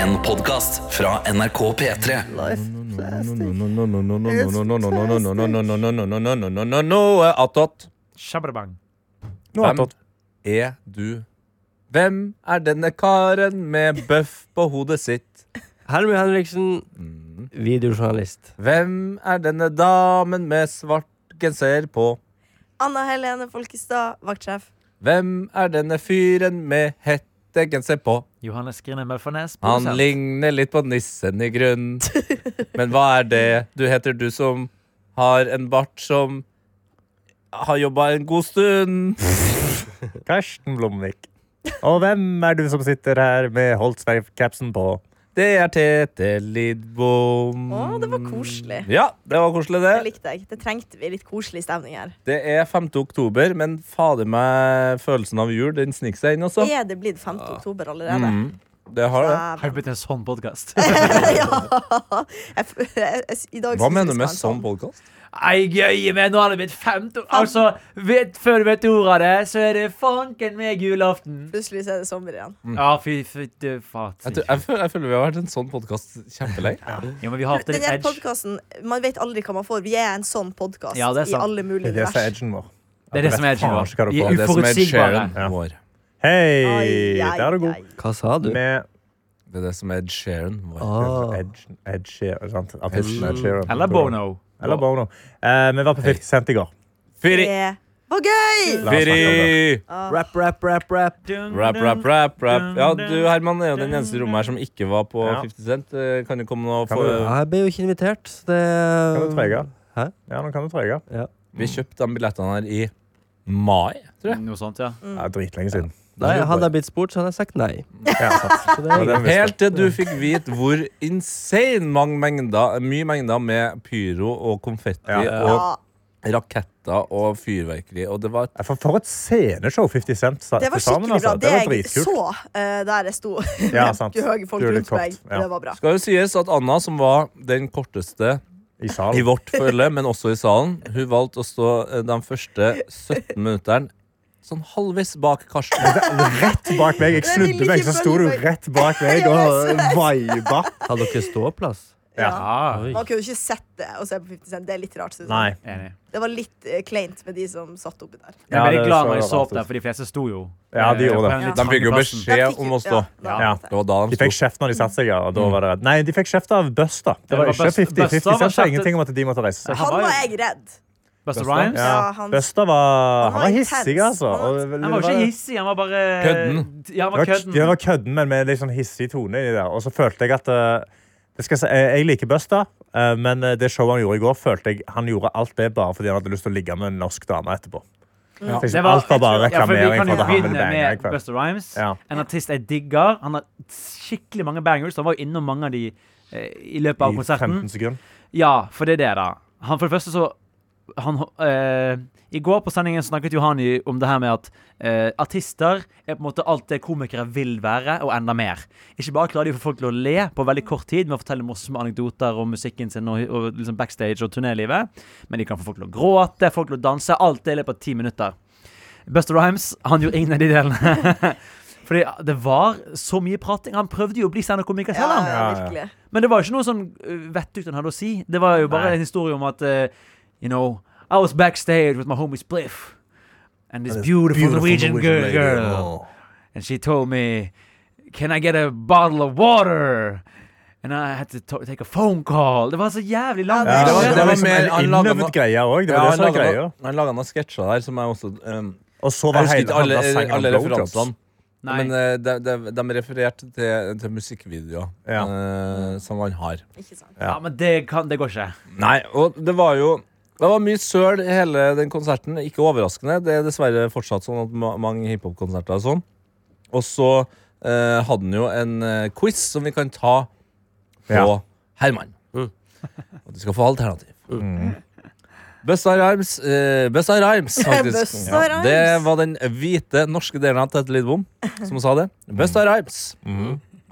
En podcast fra NRK P3 Life plastic. Noe attåt. Shababang. Noe attåt. Er du Hvem er denne karen med bøff på hodet sitt? Hermie Henriksen, videojournalist. Hvem er denne damen med svart genser på? Anna Helene Folkestad, vaktsjef. Hvem er denne fyren med hettegenser på? Johannes Grine Mølfarnes. Han produsent. ligner litt på nissen i grunnen. Men hva er det du heter, du som har en bart som har jobba en god stund? Karsten Blomvik. Og hvem er du som sitter her med Holtzberg-capsen på? Det er Tete Lidbom. Å, det var koselig. Ja, det var koselig, Det det. likte jeg. Det trengte vi. Litt koselig stemning her. Det er 5. oktober, men fader meg, følelsen av jul den sniker seg inn også. Er det blitt 5. oktober allerede? Mm, det har det. Har det blitt en sånn podkast? ja. Jeg, f- jeg, jeg, I dag Hva synes jeg mener du skal med ha en sånn podkast? Nei, gøye meg, nå har det blitt femte Altså, vet, før du vet ordet av det, så er det fanken meg julaften. Plutselig så er det sommer igjen. Ja, fy fytti fat. Jeg, tror- jeg, føler, jeg føler vi har vært en sånn podkast kjempelenge. Jo, men vi har hatt litt Denne edge. podkasten, man vet aldri hva man får. Vi er en sånn podkast Ja, det er i sant. alle mulige Det er det som er univers. edgen vår. Det er det som er Faen, edgen så kan vår. du Vi få Det er som er uforutsigbare. Sharon vår. Hei, der er du god. Hva sa du? Med Det er det som er Sharon vår. Ah. Mm. edgen, Ed Sheeran. sant? Artisten Ed Sheeran. Eller Bono. Eller Bono. Eh, vi var på 50 Cent i går. Fyri! Det var gøy! La oss snakke om det. Fyri! Rap, rap, rap, rap. Rap, rap, rap, rap. Ja, du Herman er jo den eneste i rommet her som ikke var på Ja. 50 Cent. Eh, Kan det komme noe Kan for du- Ja, jeg ble jo ikke invitert, så det Kan du trege? Hæ? Ja, nå kan du trege. Ja. Vi kjøpte de billettene her i mai, tror jeg. Noe sånt, ja. Mm. Ja, dritlenge siden. Nei, hadde jeg blitt spurt, så hadde jeg sagt nei. Ja, sant. Så det er Og den visste Helt til du fikk vite hvor insane mange mengder, mye mengder med pyro og konfetti Ja. og Ja, raketter og fyrverkeri, og det var Ja, For, for et sceneshow 50 Cent sa- det til var sammen. skikkelig bra. Altså. Det Det var jeg dritkult. så eh, der jeg sto, Ja, sant. med høye folk Du er litt rundt meg, kort, ja. det var bra. Skal jo sies at Anna, som var den korteste I i salen. vårt følge, men også i salen, hun valgte å stå eh, de første 17 minutterne sånn halvveis bak Karsten. Rett bak meg. Jeg Det er snudde meg, så sto du rett bak meg og viba. Hadde dere ståplass? Ja. Ah, Man kunne jo ikke sett det og se på 50 Cent. Det er litt rart. synes jeg. Nei. enig. Det var litt eh, kleint med de som satt oppi der. Jeg ble Ja, litt det glad så når jeg så rart opp ut. der, for de fleste sto jo. Ja, de eh, gjorde på det. den litt De fikk jo trange plassen. beskjed Da fikk- om å stå. Ja, Ja. da Det var da De de fikk sto. kjeft når de satte seg. Ja, og da var det, nei, de fikk kjeft av Buss, da. Det var Mm. Ja, det var ikke Busta- 50. 50 Busta var Cent sa kjeftet- ingenting om at de måtte reise seg. Han Han var var jo- jeg redd. Busta Busta, Rhymes. Ja, Ja, han- Busta var, han var var intens. hissig, altså. Han var- Og det- Han var jo det ikke hissig, han var bare Kødden. Ja, han det var var, kødden. det var kødden, men med litt sånn hissig tone inni der. Og så følte jeg at eh, det skal, jeg si- eh, Jeg liker Busta, eh, men eh, det showet han gjorde i går, følte jeg han gjorde alt det bare fordi han hadde lyst til å ligge med en norsk dame etterpå. Så jeg- liksom alt var bare reklamering for at Ja, for Vi han ville kan jo bange i begynne med kveld. Buster Rhymes. Ja. En artist jeg digger. Han har skikkelig mange bangers. Han var jo innom mange av de eh, i løpet av I konserten. 15 sekunder. Ja, for det er det, da. Han for det første så han, eh, I går på sendingen snakket Johani om det her med at eh, artister er på en måte alt det komikere vil være, og enda mer. Ikke bare klarer de å få folk til å le på veldig kort tid med å fortelle morsomme anekdoter om musikken sin og, og liksom backstage og turnélivet, men de kan få folk til å gråte, folk til å danse, alt det i løpet av ti minutter. Buster Rhymes, han gjorde ingen av de delene. Fordi det var så mye prating. Han prøvde jo å bli standup-komiker Ja, selv, han. ja, ja. virkelig. Men det var jo ikke noe sånn uh, vettugt han hadde å si. Det var jo bare en historie om at uh, You know, I was backstage with my homie Spliff. And this beautiful, Norwegian, girl, girl. And she told me, Can I get a bottle of water? And I had to to take a phone call. Det var så jævlig langt. Ja, det det var, det var liksom mer en innøvet innøvet greier òg. Det Ja, var det han som var laga greia. noen- han laga noen sketsjer der som jeg også um, Og så Jeg var husker hele ikke alle, alle sangen alle om altså. blowjobs. referansene. Nei. Men eh, de, de, de refererte til, til musikkvideoer Ja. eh, som han har. Ikke sant. ja, men det, kan, det går ikke. Nei, og det var jo det var mye søl i hele den konserten. Ikke overraskende. Det er dessverre fortsatt sånn at ma mange hiphop-konserter er sånn. Og så eh, hadde han jo en eh, quiz som vi kan ta på Ja. Herman. Og du skal få alternativ. Mm. Busta Rhymes, eh, Busta Rhymes faktisk. Busta Ja, Rhymes. Det var den hvite norske delen av Tete Lidbom som sa det. Busta Rhymes.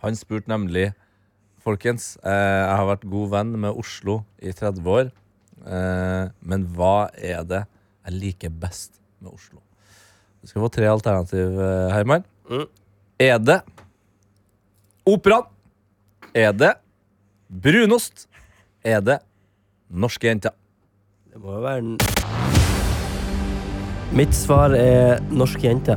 Han spurte nemlig Folkens, eh, jeg har vært god venn med Oslo i 30 år, eh, men hva er det jeg liker best med Oslo? Du skal få tre alternativ, eh, Herman. Er det operaen? Er det brunost? Er det norske jenter? Det må jo være en Mitt svar er norsk jente.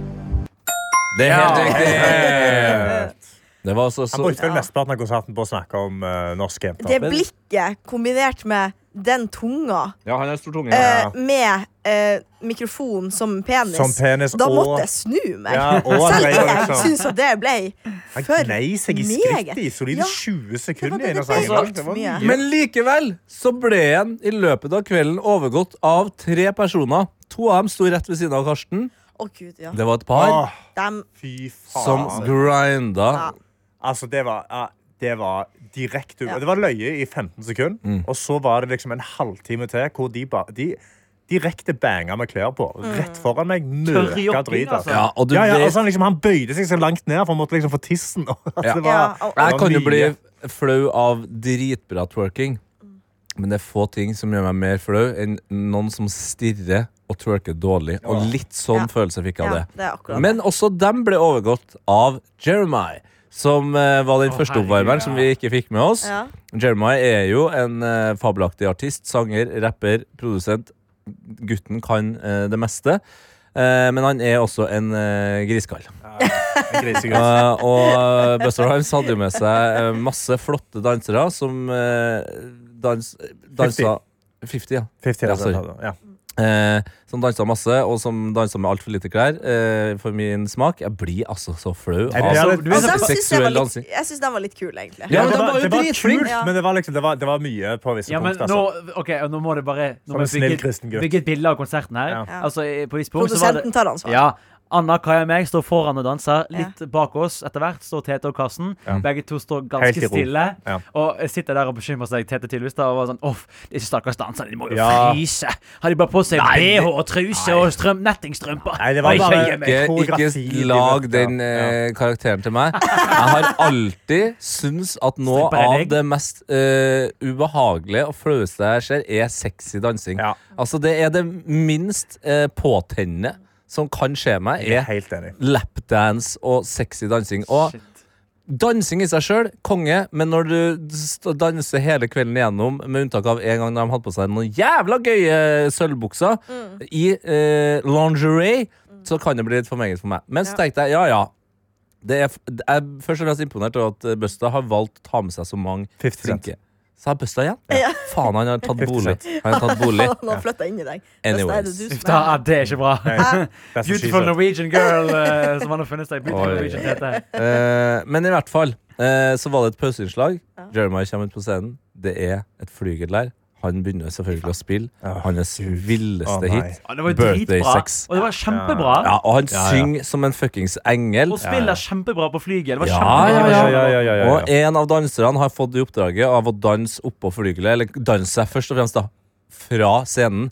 Det er helt riktig! Det var altså Han så brukte vel mesteparten av konserten på å snakke om eh, norske jenter. Det blikket kombinert med den tunga Ja, han er stor tunge. eh, med eh, mikrofon som penis, Som penis da og- måtte jeg snu meg. Ja, og han Selv ble jeg liksom- syns at det ble Han for gnei seg i meget. skrittet i solide Ja, 20 det var sekunder. det, innan det ble sangen. sagt Det var mye. mye. Men likevel så ble han i løpet av kvelden overgått av tre personer. To av dem sto rett ved siden av Karsten. Ah, Å, gud, ja. Det var et par Åh, Dem- fy faen. som grinda. Ja. Altså, det var, ja, det var direkte Ja. Det var løye i 15 sekunder, Mm. og så var det liksom en halvtime til hvor de ba, de direkte banga med klær på. Mm. Rett foran meg. Tørr Mørka jogging, drit. altså. Altså. Ja, og du Ja, ja, vet altså, han, liksom, han bøyde seg så langt ned, for han måtte liksom få tissen. Altså, Ja. det Ja, og- det Jeg kan jo mye. bli flau av dritbra twerking, men det er få ting som gjør meg mer flau enn noen som stirrer og twerker dårlig. Og litt sånn Ja. følelse fikk jeg av Ja, det. det er akkurat det. Men også dem ble overgått av Jeremiah. Som eh, var den første oppvarmeren som vi ikke fikk med oss. Ja. Jeremiah er jo en eh, fabelaktig artist. Sanger, rapper, produsent. Gutten kan eh, det meste. Eh, men han er også en eh, griskall. En grisegutt. Eh, og Buster Rhymes hadde jo med seg eh, masse flotte dansere som eh, dans, dansa 50, ja. 50 Ja, altså, sorry. ja. Eh, som dansa masse, og som dansa med altfor lite klær, eh, for min smak. Jeg blir altså så flau. Jeg av- blir Altså, litt- du er Og så dem synes jeg var sånn Seksuell litt- dansing. Jeg syns den var litt kul, egentlig. Ja, men det den var, var jo det var dritflink. kult, Ja. men det var, liksom, det var, det var mye på visse Ja, men punkter. nå, Altså. ok, nå må det bare Nå Som må en vi snill bygge, kristen gutt. bygge et bilde av konserten her. Ja. Ja. Altså, i- på et visst punkt så var det Produsenten tar ansvar. Ja. Anna, Kaja og meg står foran og danser. Litt bak oss etter hvert står Tete og Karsten. Begge to står Helt i ganske ro. stille Ja. og sitter der og bekymrer seg. Tete tydeligvis da og var sånn Uff, disse stakkars danserne, de må jo Ja. fryse. Har de bare på seg BH og truse og strøm, nettingstrømper? Nei, det var Oi, bare- jeg gir meg. ikke, Koreografi, ikke lag de vet, ja. den eh, karakteren til meg. Jeg har alltid syntes at noe Stripper er av deg. det mest eh, ubehagelige og flaueste jeg ser, er sexy dansing. Ja. Altså Det er det minst eh, påtennende som kan skje meg, Jeg er er helt enig. lapdance og sexy dansing. Og dansing i seg sjøl, konge, men når du st- danser hele kvelden igjennom, med unntak av en gang da de hadde på seg noen jævla gøye sølvbukser Mm. i eh, lingerie, så kan det bli litt for meget for meg. Men så tenkte jeg ja, ja. Det er, f- det er først og fremst imponert over at eh, Busta har valgt å ta med seg så mange 50 cent. flinke. Sa Busta igjen? Faen, han har tatt bolig. Han har tatt bolig. Han har flytta inn i deg. Anyways. Best er det du Uff som da, er- ja, det er ikke bra. That's what she Beautiful said. Norwegian girl eh, som han har funnet seg. Beautiful Oi. Norwegian Tete. Eh, men i hvert fall eh, så var det et pauseinnslag. Jeremiah kommer ut på scenen. Det er et flygelær. Han begynner selvfølgelig å spille hans Å, villeste nei. hit. Ja, Det var jo Birthday dritbra. sex. Og det var kjempebra. Ja, og han Ja, ja. synger som en fuckings engel. Og spiller kjempebra på flyget. Det var Ja, ja, kjempebra. ja, ja, ja, ja, ja. Og en av danserne har fått i oppdraget av å danse oppå flygelet. Eller danse seg først og fremst da fra scenen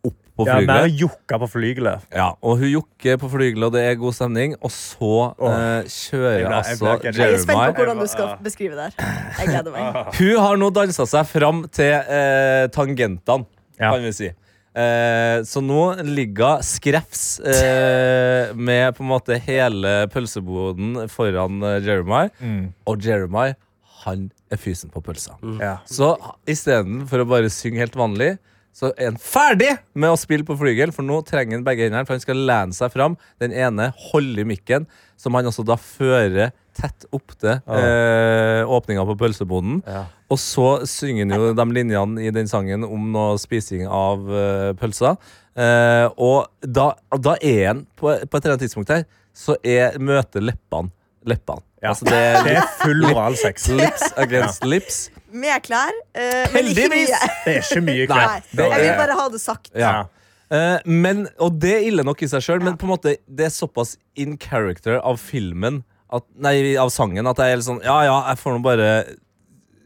opp på Ja, mer flygelet. jokka på flygelet. Ja, og hun jokker på flygelet, og det er god stemning. Og så eh, kjører Jeg ble- jeg ble altså ikke- Jeg er spent Jeremiah på hvordan du skal beskrive det her. Jeg gleder meg. Hun har nå dansa seg fram til eh, tangentene, Ja. kan vi si. Eh, så nå ligger hun skrevs eh, med på en måte hele pølseboden foran eh, Jeremiah. Og Jeremiah, han er fysen på pølsa. Ja. Så istedenfor å bare synge helt vanlig, så er han ferdig med å spille på flygel, for nå trenger han begge hendene, for han skal lene seg fram. Den ene holder i mikken, som han også da fører tett opp til eh, åpninga på pølsebonden. Og så synger han jo de linjene i den sangen om noe spising av eh, pølser. Eh, og da, da er han på, på et eller annet tidspunkt her, så er, møter leppene leppene. Ja. Altså det er Det er full oralsex. lips against lips. Med klær. eh, men ikke Heldigvis! mye. Det er ikke Nei, mye klær. det Jeg vil er- bare ha det sagt. Ja. Ja. Eh, men, og det er ille nok i seg sjøl, men på en måte det er såpass in character av filmen at, Nei, av sangen at jeg er litt sånn Ja, ja, jeg får nå bare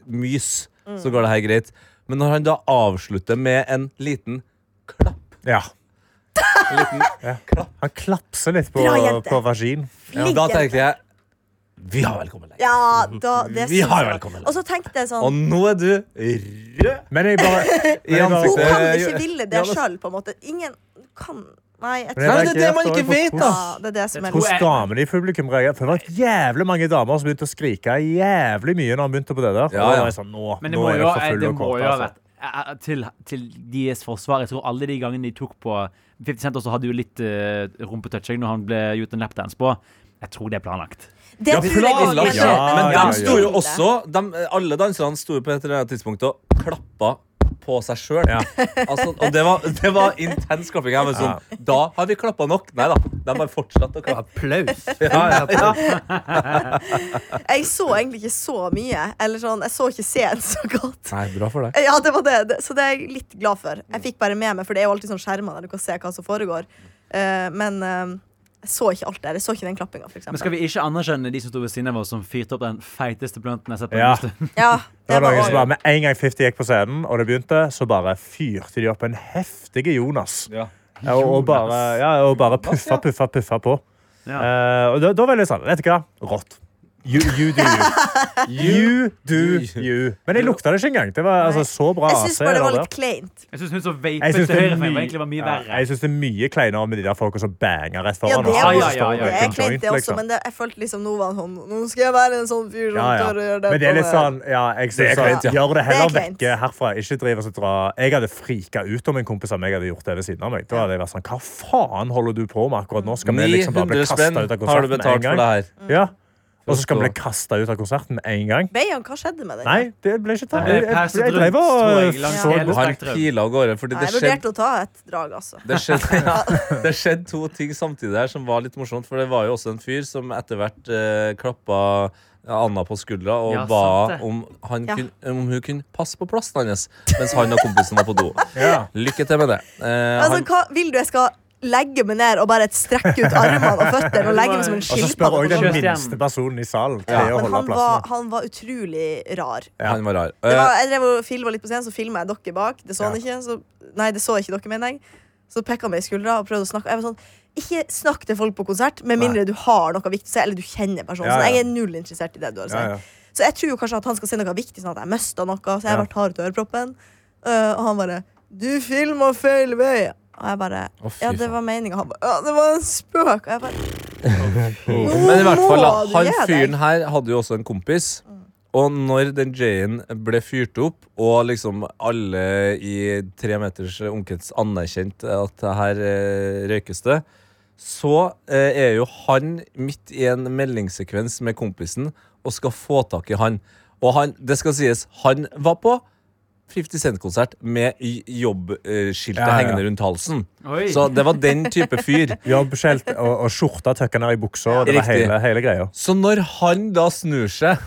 mys, Mm. så går det her greit. Men når han da avslutter med en liten klapp Ja. en liten, Han klapser litt på, Bra jente. på vagin. ja, Da tenkte jeg Vi har vel kommet lenger. Ja, da, det Vi syns har jeg. velkommen. Og så tenkte jeg Og sånn nå er du rød Men jeg bare, men jeg bare ansiktet. Hun kan Eh, ikke ville det Johannes. sjøl, på en måte. Ingen kan Nei, Men jeg Nei, tror men det er det man ikke vet, da! ja, Det er det som er Hvordan damene i publikum reagerte. For Det var jævlig mange damer som begynte å skrike jævlig mye når han begynte på det der. Ja, ja. Og jeg sånn, nå, Men det nå må er jo, det for full det og må kort, jo ha altså. vært eh, til, til deres forsvar. Jeg tror alle de gangene de tok på 50 Cent også hadde jo litt uh, rumpetouch når han ble gjort en lapdance på. Jeg tror det er planlagt. Det Ja, tror jeg også, planlagt, ja, men- Men ja, ja. de sto jo også dem- Alle danserne sto jo på et eller annet tidspunkt og klappa på seg sjøl. Ja. Altså, og det var, det var intens klapping. Jeg var sånn, Da har vi klappa nok. Nei da. De bare fortsatte å klappe. Applaus. Ja, ja, ja. Jeg så egentlig ikke så mye. Eller sånn, jeg så ikke scenen så godt. Nei, bra for deg. Ja, det var det. det. Så det er jeg litt glad for. Jeg fikk bare med meg, for det er jo alltid sånn skjermer der du kan se hva som foregår. Eh, men eh, jeg så ikke alt der. Jeg så ikke den klappinga, for Men skal eksempel. vi ikke anerkjenne de som sto ved siden av oss, som fyrte opp den feiteste blunten jeg har sett på Ja. en stund? Ja, Det det var var noen som også- bare, Med en gang 50 gikk på scenen, og det begynte, så bare fyrte de opp en heftig Jonas. Ja. Ja, Og, og bare, ja, og bare puffa, puffa, puffa på. Ja. Eh, og da, da var jeg litt sånn Vet du hva? Rått. You, you do you. You do you. Men jeg lukta det ikke engang. Det var altså, så bra Jeg syns bare det var der. litt kleint. Jeg syns hun som Jeg vapet syns til det, høyre er for meg, var mye- egentlig var mye ja, verre. jeg synes det er mye kleinere med de der folka som banger rett Ja, foran. det, oss. ja, var, Altså, ja, står og ja. det røyker er en kleint, joint, det også, liksom. men det, jeg følte liksom nå var han sånn Nå skal jeg være en sånn fyr som Ja, ja. tør å gjøre det. Men det er litt på meg. sånn ja, Det jeg er synes sånn, kleint, ja. Gjør det Det er heller kleint. vekke herfra. Ikke driv oss og dra Jeg hadde frika ut om en kompis av meg hadde gjort det ved siden av meg. Da hadde jeg vært sånn Hva faen holder du på med akkurat nå? Skal vi liksom bare bli 900 kastet spenn ut av har du konserten med en betalt for det gang? her. Ja. Og så skal vi bli kasta ut av konserten med en gang? Beyan, hva skjedde med den? Nei, det ble ikke tatt. Det Jeg, ble jeg, pauset jeg drev og rundt, tror jeg, langs så hele godt. Han pila av gårde. Fordi Nei, det jeg skjedde vurderte å ta et drag, altså. Det skjedde, ja. det skjedde to ting samtidig her som var litt morsomt. For det var jo også en fyr som etter hvert eh, klappa Anna på skuldra og Ja, sant ba det. om, han Ja. kun, om hun kunne passe på plassen hans mens han og kompisen var på do. Ja. Lykke til med det. Eh, Altså, han, hva vil du jeg skal legge meg ned og bare strekke ut armene og føttene og legge meg som en Og så spør skilpadde? òg på den gulvet? Kjøstjernen. minste personen i salen til Ja, å Men holde han var, plassen. han var utrolig rar. han var rar. Det Eh, var, jeg drev og filma litt på scenen, så filma jeg dere bak. Det så han ikke. Så, nei, det så ikke dere, mener jeg. Så pekka han meg i skuldra og prøvde å snakke. Jeg var sånn, ikke snakk til folk på konsert med mindre du har noe viktig å si, eller du kjenner personen. Ja, ja. Så jeg er null interessert i det du har å si. Ja, ja. Så jeg tror jo kanskje at han skal si noe viktig, sånn at jeg mista noe. Så Ja. jeg ble hard til øreproppen. Øh, og han bare 'Du filma feil vei'. Og jeg bare Å, fy Ja, det faen. var meninga. Han bare Ja, det var en spøk. Og jeg bare Nå Men i hvert fall, da, må du Mm. han gi deg. fyren her hadde jo også en kompis. Og når den J-en ble fyrt opp, og liksom alle i tre meters omkrets anerkjente at her eh, røykes det, så eh, er jo han midt i en meldingssekvens med kompisen og skal få tak i han. Og han, det skal sies, han var på 50 Cent-konsert med jobbskiltet Ja, ja, ja. hengende rundt halsen. Oi. Så det var den type fyr. Jobbskjelt og, og skjorta tøkka ned i buksa. Det var Riktig. hele, hele greia. Så når han da snur seg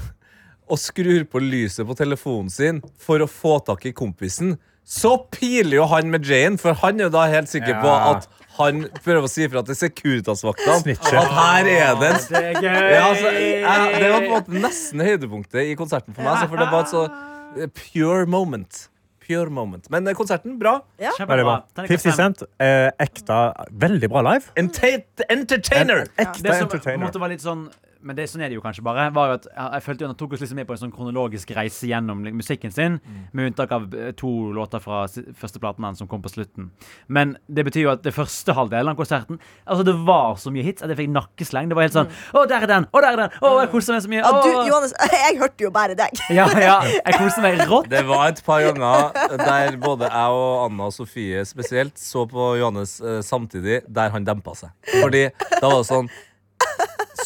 og skrur på lyset på telefonen sin for å få tak i kompisen, så piler jo han med Jane, for han er jo da helt sikker på Ja. at han prøver å si ifra til Securitas-vaktene Snitcher. at her er det en Det er gøy! ja, altså, jeg, Det var på en måte nesten høydepunktet i konserten for meg, altså, for det var et så eh, pure moment. Pure moment. Men eh, konserten, bra. Veldig bra. Kjempebra. Terningkast 50 fem. Cent, eh, ekte Veldig bra live. Enta- entertainer! Ekte Det som på en entertainer. måte var litt sånn men det, sånn er det jo kanskje bare. Var jo at jeg, jeg følte jo at Han tok oss liksom med på en sånn kronologisk reise gjennom li- musikken sin, med unntak av eh, to låter fra si- første platen hans som kom på slutten. Men det betyr jo at det første halvdelen av konserten Altså Det var så mye hits at jeg fikk nakkesleng. Det var helt sånn Å, der er den! Å, der er den! Å, jeg koser meg så mye! Ja, du, Å!» Johannes, jeg hørte jo bare deg. ja, ja, jeg koser meg rått. Det var et par ganger der både jeg og Anna og Sofie spesielt så på Johannes eh, samtidig, der han dempa seg. Fordi da var det sånn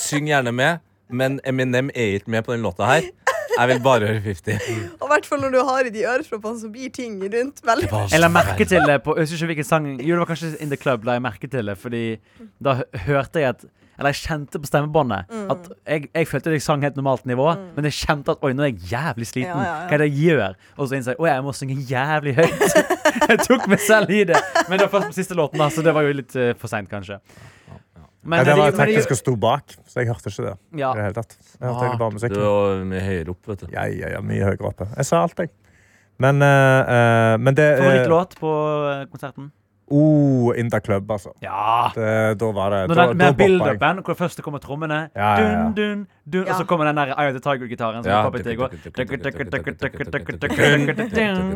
Syng gjerne med, men Eminem er ikke med på den låta her. Jeg vil bare høre 50. Og i hvert fall når du har i de øreproppene, så blir ting rundt veldig Jeg la merke til det på Jeg husker ikke hvilken sang Jo, det var kanskje In The Club la jeg merke til det, fordi da hø- hørte jeg at Eller jeg kjente på stemmebåndet Mm. at jeg, jeg følte at jeg sang helt normalt nivå, men jeg kjente at oi, nå er jeg jævlig sliten. Ja, ja, ja. Hva er det jeg gjør? Og så innså jeg å, jeg må synge jævlig høyt. jeg tok meg selv i det. Men det var først på siste låten, da, så det var jo litt eh, for seint, kanskje. Men Ja, det var Eh, men det- teknisk og sto bak, så jeg hørte ikke det. Ja. I det hele tatt. Jeg hørte egentlig bare Du musikken. var mye høyere opp, vet du. Ja, ja, ja, mye høyere oppe. Jeg sa alt, jeg. Men, eh, eh, men det eh, Favorittlåt på eh, konserten? Oh, In the club, altså. Ja. Det, da var det Når Da, den, da med boppa jeg. build-upen, hvor først det kommer trommene Ja, ja, ja. Dun, dun, dun, Og så Ja. kommer den der Eye of the Tiger-gitaren som Ja. vi poppet i går. Dun,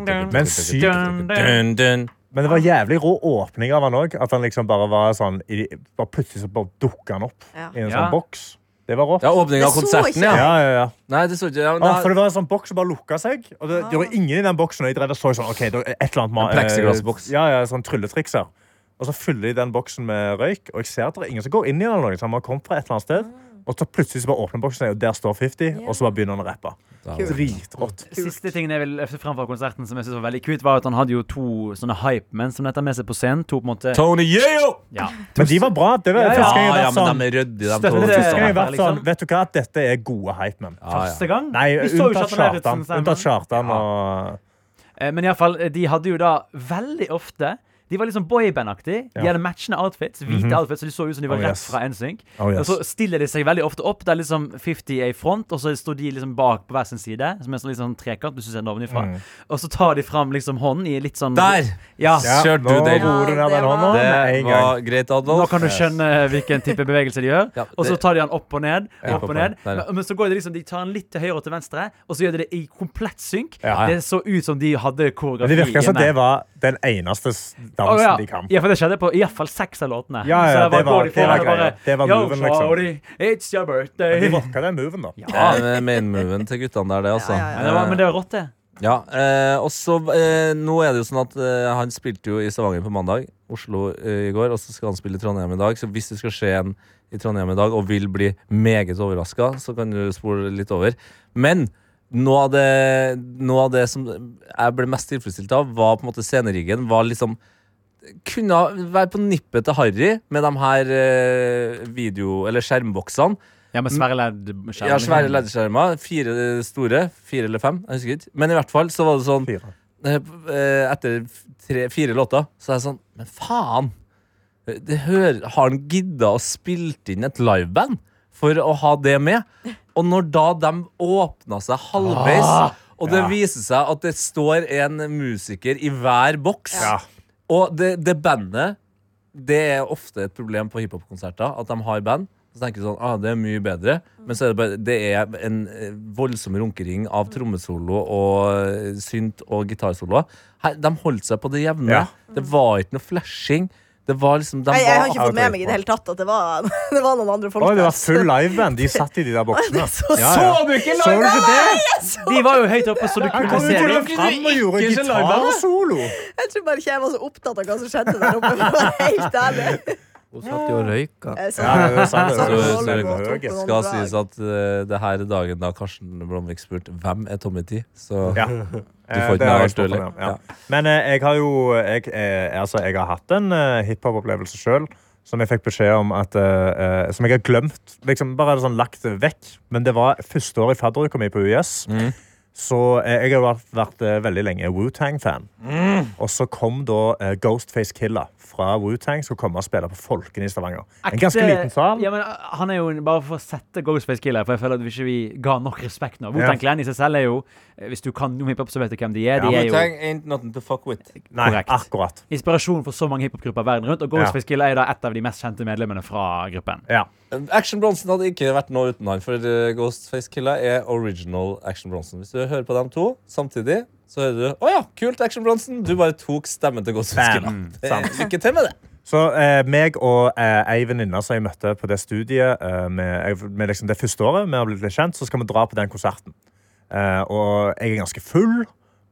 dun, dun, Men Men det var jævlig rå åpning av han òg. At han liksom bare var sånn i- bare Plutselig så bare dukka han opp Ja. i en Ja. sånn boks. Det var rått. Ja, åpningen av Det så konserten, ikke ja. jeg. Ja, ja, ja. Nei, det så ikke ja, men Ah, for det- det var en sånn boks som bare lukka seg. Og det, det var Ah. ingen i den boksen. Og jeg drev og så sånn, ok, det er et eller annet ma- En plexiglassboks. eh, Ja, ja, sånn trylletrikser. Og så fyller de den boksen med røyk, og jeg ser at det er ingen som går inn i den. eller noe, så han må ha kommet fra et eller annet sted. Ah. Og så plutselig så bare åpner boksen seg, og der står 50, og så bare begynner han å rappe. Kult. Dritrått. Siste tingen jeg vil løfte fram fra konserten, som jeg synes var veldig kult, var at han hadde jo to sånne hypemenn som dette med seg på scenen. To på en måte Tony Yeo! ja. Men de var bra. Det var Ja, ja. første gang jeg Ah, har ja, vært men sånn. de er ryddige, de Støtter to. det. Første gang artisterne. jeg har vært sånn, Liksom. Vet du hva, dette er gode hypemen. Ja, ja. Første gang? Nei, Vi så jo ikke unntatt at han er Kjartan. Ritzenstein, men- Unntatt Kjartan og Eh, Men iallfall, de hadde jo da veldig ofte De var liksom boyband-aktig. De Ja. hadde matchende outfits. Hvite outfits, så de så ut som de var Oh, rett yes. fra NSYNC. Oh, yes. Og så stiller de seg veldig ofte opp. Det er liksom 50 er i front, og så står de liksom bak på hver sin side. Som en sånn, litt sånn trekant, hvis du ser den ovenifra. Mm. Og så tar de fram liksom hånden i litt sånn Der! Ja, Ja. Kjør du den. Nå roer du ned Ja, det den hånda var- med Det en gang. var greit, Adolf. Nå kan du skjønne hvilken type bevegelse de gjør. Ja, Og så det- tar de den opp og ned. Ja, opp og på ned poeng. Der, ja. men, men så går det liksom, de tar den litt til høyre og til venstre, og så gjør de det i komplett synk. Ja, ja. Det så ut som de hadde Men koreografi det virker som inne. det var den eneste s- Å, dansen ja. de kan. ja, for det skjedde på i hvert fall seks av låtene. Ja, ja, Så det var- går de det var foran og bare, greia. Det var Yo, moven, liksom. shorty, It's your birthday. Men de rocka den moven, da. Ja, det er main-moven til guttene der, det, altså. Ja, ja, ja. Men det var, men det var rått, det. Ja, eh, og så eh, Nå er det jo sånn at eh, han spilte jo i Stavanger på mandag, Oslo eh, i går, og så skal han spille i Trondheim i dag. Så hvis du skal se en i Trondheim i dag og vil bli meget overraska, så kan du spole litt over. Men noe av det, noe av det som jeg ble mest tilfredsstilt av, var på en måte sceneriggen. Var liksom kunne ha- være på nippet til Harry med de her eh, video- eller skjermboksene. Ja, men svære Ja, svære ledderskjermer. Fire eh, store. Fire eller fem. jeg husker ikke. Men i hvert fall så var det sånn Fire. eh, p- eh, etter f- tre, fire låter, så er jeg sånn Men faen! Eh, Det hører, har han gidda å spilt inn et liveband for å ha det med? Og når da de åpna seg halvveis, og det Ah, Ja. viser seg at det står en musiker i hver boks Ja. Og det, det bandet Det er ofte et problem på hiphopkonserter, at de har band. Så tenker du sånn, ah, det er mye bedre Men så er det bare Det er en eh, voldsom runkering av trommesolo og eh, synt og gitarsoloer. Her- De holdt seg på det jevne. Ja. Det var ikke noe flashing. Det var liksom de Nei, jeg har var- ikke fått med meg i det hele tatt at det var, det var noen andre folk Oi, det var der. full liveband. De satt i de der boksene. Det så- sånn! du ikke liveband? Så du ikke det? De var jo høyt oppe, så du Han kunne kom jo se til dem. og med fram og gjorde gitarsolo. Jeg tror bare ikke jeg var så opptatt av hva som skjedde der oppe. for å være Helt ærlig. Hun satt jo og røyka. Jeg sa- Ja, det er sant, det er altså. jeg sa- sant. Volvo Så- tok på noen skal drag. sies at eh, det her er dagen da Karsten Blomvik spurte hvem er Tommy T. Så Ja. eh, får ikke det har jeg nærmest stått øl, for meg, ja. ja. Men eh, jeg har jo jeg, eh, altså, jeg har hatt en eh, hiphop-opplevelse sjøl som jeg fikk beskjed om at eh, eh, Som jeg har glemt. Liksom, bare sånn lagt det vekk. Men det var første år i fadderuka mi på UiS. Mm. Så eh, jeg har vært, vært eh, veldig lenge Wu-Tang-fan. Mm. Og så kom da eh, Ghostface Killer fra Wu-Tang skulle komme og spille på Folken i Stavanger. En ganske liten sal. Ja, men uh, han er jo en- Bare for å sette Ghostface Killer, for jeg føler at vi ikke vi ga nok respekt nå. Wu-Tang Clan i seg selv er jo eh, Hvis du kan noe hiphop, så vet du hvem de er. De Ja, er jo ain't nothing to fuck with. Nei, korrekt. akkurat. inspirasjon for så mange hiphopgrupper verden rundt, og Ghostface Killer er jo da et av de mest kjente medlemmene fra gruppen. Ja. Action Bronson hadde ikke vært noe uten han, for eh, Ghostface Killa er original Action Bronson. Hvis du hører på dem to samtidig, så hører du 'Å ja, kult, Action Bronson'. Du bare tok stemmen til Ghostface Killa. Bam. Det- Sant. Lykke til med det. Så eh, meg og eh, ei venninne som jeg møtte på det studiet eh, med, med liksom det første året, vi har blitt litt kjent, så skal vi dra på den konserten. Eh, og jeg er ganske full,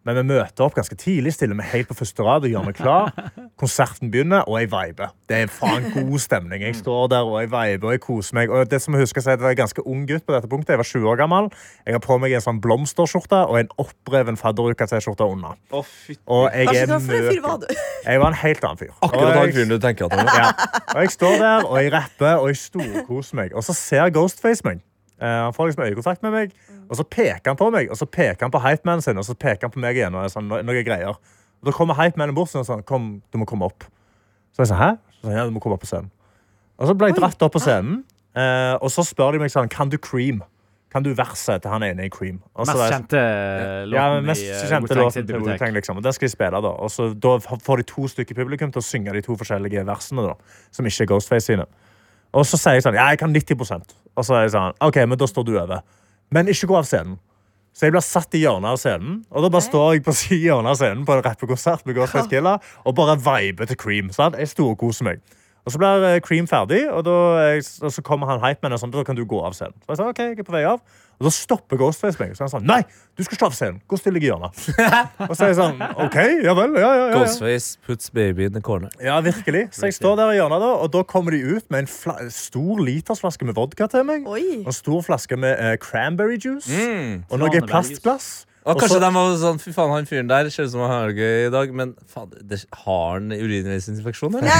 men vi møter opp ganske tidlig, stiller meg helt på første rad og gjør meg klar. Konserten begynner, og jeg viber. Det er faen god stemning. Jeg står der og jeg viber og jeg koser meg. Og det som jeg husker er at jeg var en ganske ung gutt på dette punktet. Jeg var 20 år gammel. Jeg har på meg en sånn blomsterskjorte og en oppreven fadderuka-T-skjorte under. Og jeg Karsten, er hva for en fyr mørk. var du? Jeg var en helt annen fyr. Akkurat Og han jeg- fyren du tenker at han er. ja. Og jeg står der, og jeg rapper, og jeg storkoser meg. Og så ser Ghostface meg. Eh, han får liksom øyekontakt med meg, og så peker han på meg. Og så peker han på hypemanen sin, og så peker han på meg igjen. Og er sånn, "Nå- noe greier. Og da kommer hypemanen bort og sånn, kom, du må komme opp. Så jeg sa, hæ? Så sa, han, ja, du må komme opp på scenen. Og så ble jeg dratt opp på scenen, eh, og så spør de meg sånn, kan du cream? Kan du verset til han ene i cream? Og så var Mest jeg sånn, kjente låten ja, men mest i eh, kjente Wu-Tang låten sitt til bibliotek. Wu-Tang, liksom. Og den skal de spille, da. Og så da får de to stykker publikum til å synge de to forskjellige versene, da. Som ikke er Ghostface sine. Og så sier jeg sånn, ja, jeg kan 90 Og så er jeg sånn, ok, men da står du over. Men ikke gå av scenen. Så jeg blir satt i hjørnet av scenen, og da bare står jeg på si- hjørnet av scenen på en rappekonsert med Ghostface Killa og bare viber til Cream. Sant? Jeg storkoser meg. Og så blir eh, Cream ferdig, og, da, eh, s- og så kommer han hypeman og sånn, da kan du gå av scenen. Så jeg sa, ok, jeg er på vei av. Og da stopper Ghostface meg. Så han sånn, nei, du skal ikke av scenen. Gå stille i hjørnet. og så er jeg sånn, ok, ja vel, ja, ja, ja. ja. Ghostface puts baby in the corner. Ja, virkelig. Så jeg står der i hjørnet, da, og da kommer de ut med en fla stor litersflaske med vodka til meg. Oi. Og en stor flaske med eh, cranberry juice. Og noe Tranebærjus. plastglass. Mm. Og kanskje så- de var sånn Fy faen, han fyren der ser ut som han har det gøy i dag, men faen, det, har han urinveisinfeksjon, eller?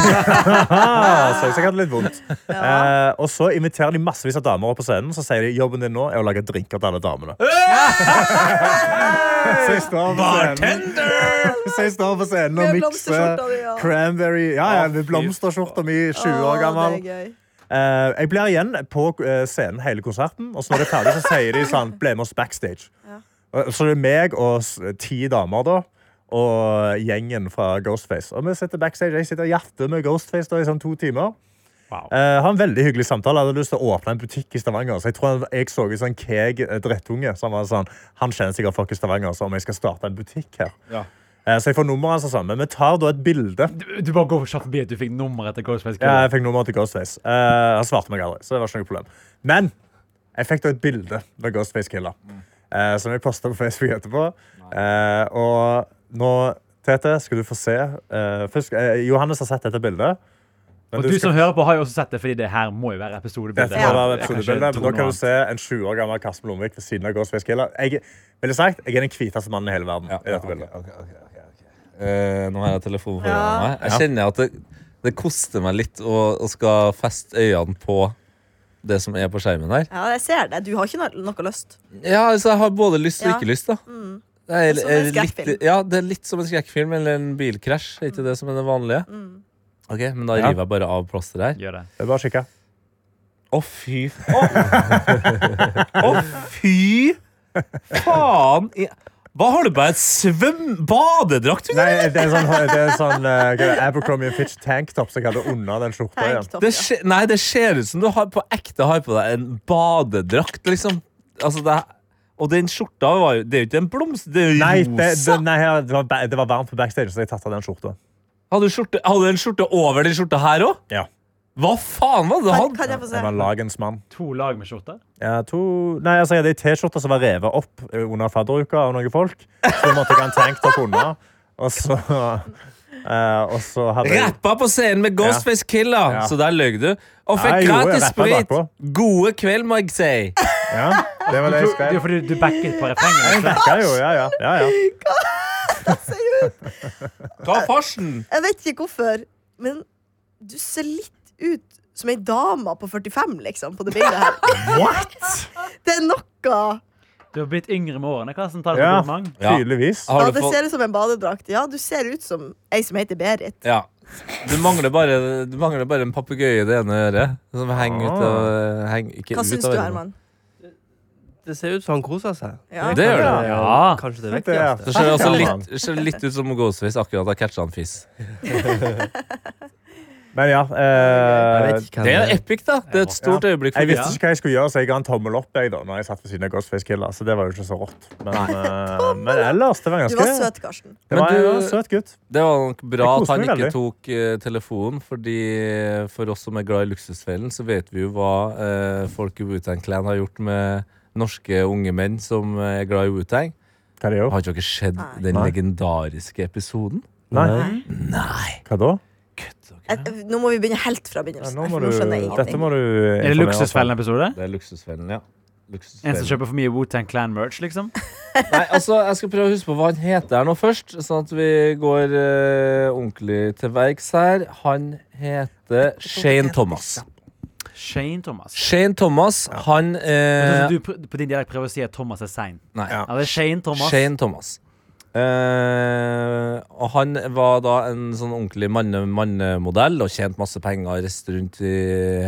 Ah, så jeg sikkert litt vondt. Eh, og så inviterer de massevis av damer opp på scenen, så sier de jobben din nå er å lage drinker til alle damene. så jeg står på scenen, så jeg står på scenen og Med mikser blomsterskjorta di, ja. cranberry Ja, ja, Å, med fy blomsterskjorta mi, 20 år gammel. Å, det er gøy. Eh, jeg blir igjen på eh, scenen hele konserten, og så når det er ferdig, så sier de sånn Ble med oss backstage. Og- Så det er meg og s- ti damer, da. Og gjengen fra Ghostface. Og vi sitter backstage, Jeg sitter og hjerter med Ghostface da, i sånn to timer. Wow. Eh, har en veldig hyggelig samtale. Jeg hadde lyst til å åpne en butikk i Stavanger. Så jeg tror han- jeg så en sånn keeg eh, drettunge som var sånn Han kjenner sikkert folk i Stavanger, så om jeg skal starte en butikk her. Eh, så jeg får nummeret hans og sånn. Men vi tar da et bilde. Du, du bare går kjapt forbi at du fikk nummeret til Ghostface Ja, Killer. jeg fikk nummeret til Ghostface. Eh, han svarte meg aldri, så det var ikke noe problem. Men jeg fikk da et bilde med Ghostface Killer, eh, som jeg posta på Facebook etterpå. Eh, og nå, Tete, skal du få se. Eh, først, eh, Johannes har sett dette bildet. Men Og du skal- som hører på, har jo også sett det, fordi det her må jo være episodebildet. dette må Ja. være episodebildet, men Da kan du se en 20 år gammel Karsten Blomvik ved siden av Ghostface Killer. Jeg, ville sagt, jeg er den hviteste mannen i hele verden. i dette bildet. Eh, nå har jeg telefonen foran Ja. meg. Jeg kjenner at det, det koster meg litt å, å skal feste øynene på det som er på skjermen her. Ja, jeg ser det. Du har ikke noe, noe lyst. Ja, altså jeg har både lyst og Ja. Mm. ikke lyst, da. Det er, Det er som en er litt, skrekkfilm. ja, det er litt som en skrekkfilm eller en bilkrasj. Er ikke det som er det vanlige? Mm. Ok, Men da Ja. river jeg bare av plasteret her. Gjør det. Det er bare å kikke. Å, fy f- Å, Å, fy faen! i- Hva har du på deg? Et svøm... Badedrakt? Hun? Nei, det er en sånn, det er en sånn eh, hva er det, Abercrombie Fitch tanktop som jeg hadde under den skjorta. igjen. Tanktop, Det ja. skje, nei, det ser ut som du har, på ekte har på deg en badedrakt, liksom. Altså, det, og den skjorta var jo Det er jo ikke en blomst, det er jo Nei, rosa. det, det, nei her- det, var, ba- det var varmt på backstage, så jeg tatt av den skjorta. Hadde du skjorte, hadde du en skjorte over den skjorta her òg? Ja. Hva faen var det du Kan, hadde? kan jeg få se? Jeg var lagens mann. To lag med skjorter. Ja, to, nei, altså, jeg hadde ei T-skjorte som var revet opp eh, under fadderuka av noen folk. Så jeg måtte jeg ha en tanktop unna. Og så, eh, og så hadde jeg Rappa på scenen med Ghostface Killer, Ja. så der løy du. Og Nei, fikk jo, jeg gratis rappet sprit. bakpå. Gode kveld, må jeg si. ja, Det var det jeg Det er skrev. fordi du backet på refrenget. Jeg backa jo, ja, ja, ja, ja. Hva er farsen? Jeg vet ikke hvorfor, men du ser litt ut som ei dame på 45, liksom, på det bildet her. Det er noe Du har blitt yngre med årene. Karsten, ta det Ja. som kompliment. Ja. Tydeligvis. Ja, Har du det fått ser ut som en badedrakt. Ja, du ser ut som ei som heter Berit. Ja. Du mangler bare, du mangler bare en papegøye i det ene øret. Som henger ut av Ah. henger ikke Hva ut syns av du, øret. Herman? Det ser ut som han koser seg. Ja. Det gjør det. er jo Ja. Kanskje det Det er- Det viktigste. ser altså Ja, litt, ser litt ut som Ghostface akkurat har catcha en fiss. Men ja. Eh, Jeg vet ikke hvem Det er epic, da. Det er et stort øyeblikk jeg for visste ikke hva jeg skulle gjøre, så jeg ga en tommel opp jeg, da, når jeg satt ved siden av Ghostface Killer. Så det var jo ikke så rått. Men, eh, men ellers, det var Du ganske var søt, Karsten. Det var, Men du- jeg var en søt gutt. Det var nok bra Jeg at koser han meg ikke veldig. tok eh, telefonen, fordi eh, for oss som er glad i Luksusfellen, så vet vi jo hva eh, folk i Wu-Tang Clan har gjort med norske unge menn som eh, er glad i Wu-Tang. Hva er det gjorde? Har ikke dere sett Nei. den Nei. legendariske episoden? Nei. Nei! Hva da? Kutt dere. Jeg, nå må vi begynne helt fra Ja, begynnelsen. nå her, må for du, nå skjønner jeg dette ingenting. må du Er det Luksusfellen-episode? Det er Luksusfellen, ja. En som Luksusfellen. kjøper for mye Wu-Tang Clan-merch, liksom? Nei, altså, jeg skal prøve å huske på hva han heter her nå først, sånn at vi går eh, ordentlig til verks her. Han heter Shane Thomas. Shane Thomas. Shane Thomas, han Jeg eh, synes Du pr- på din dialekt prøver å si at Thomas er sein. Nei. Altså, Ja. Ja, det er Shane Thomas. Shane Thomas. Eh, og han var da en sånn ordentlig manne- mannemodell og tjente masse penger og reiste rundt i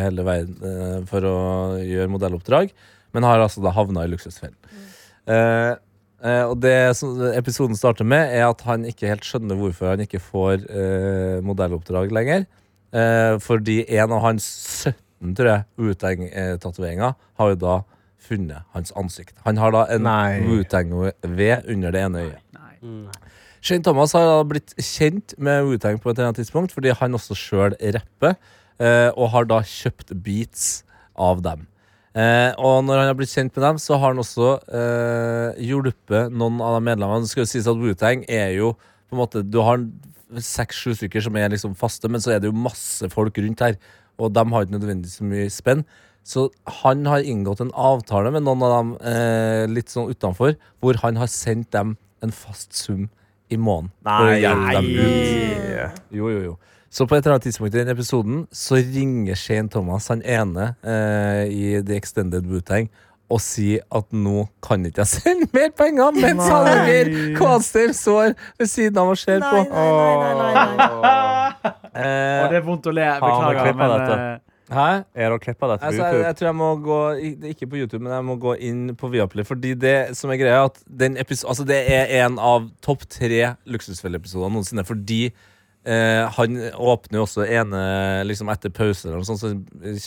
hele verden eh, for å gjøre modelloppdrag, men har altså da havna i luksusfellen. Eh, eh, og det som episoden starter med, er at han ikke helt skjønner hvorfor han ikke får eh, modelloppdrag lenger. Eh, fordi en av hans 17, tror jeg, Wu-Tang-tatoveringer har jo da funnet hans ansikt. Han har da en Nei. Wutang-V under det ene øyet. Nei. Shane Thomas har da blitt kjent med Wu-Tang på et eller annet tidspunkt, fordi han også sjøl rapper, eh, og har da kjøpt beats av dem. Eh, og når han har blitt kjent med dem, så har han også eh, hjulpet noen av de medlemmene. Det skal jo sies at Wu-Tang er jo på en måte Du har seks-sju stykker som er liksom faste, men så er det jo masse folk rundt her, og de har ikke nødvendigvis så mye spenn. Så han har inngått en avtale med noen av dem eh, litt sånn utenfor, hvor han har sendt dem en fast sum i måneden. for å hjelpe dem ut. Jo, jo, jo. Så på et eller annet tidspunkt i den episoden så ringer Shane Thomas, han ene eh, i The Extended Bootang, og sier at nå kan ikke jeg sende mer penger mens Hallgeir Kvadsheim står ved siden av og ser Nei, på. nei, nei, nei, nei, nei. Og Eh, det er vondt å le. Faen, jeg Beklager. klipper Men, dette. eh, hæ? Er det å klippe dette på Altså, jeg, YouTube? jeg tror jeg må gå i- Ikke på YouTube, men jeg må gå inn på Viaplay. Fordi det som er greia, er at den episo- altså, det er en av topp tre Luksusfelle-episoder noensinne. Fordi eh, han åpner jo også ene liksom etter pause, eller noe sånt, så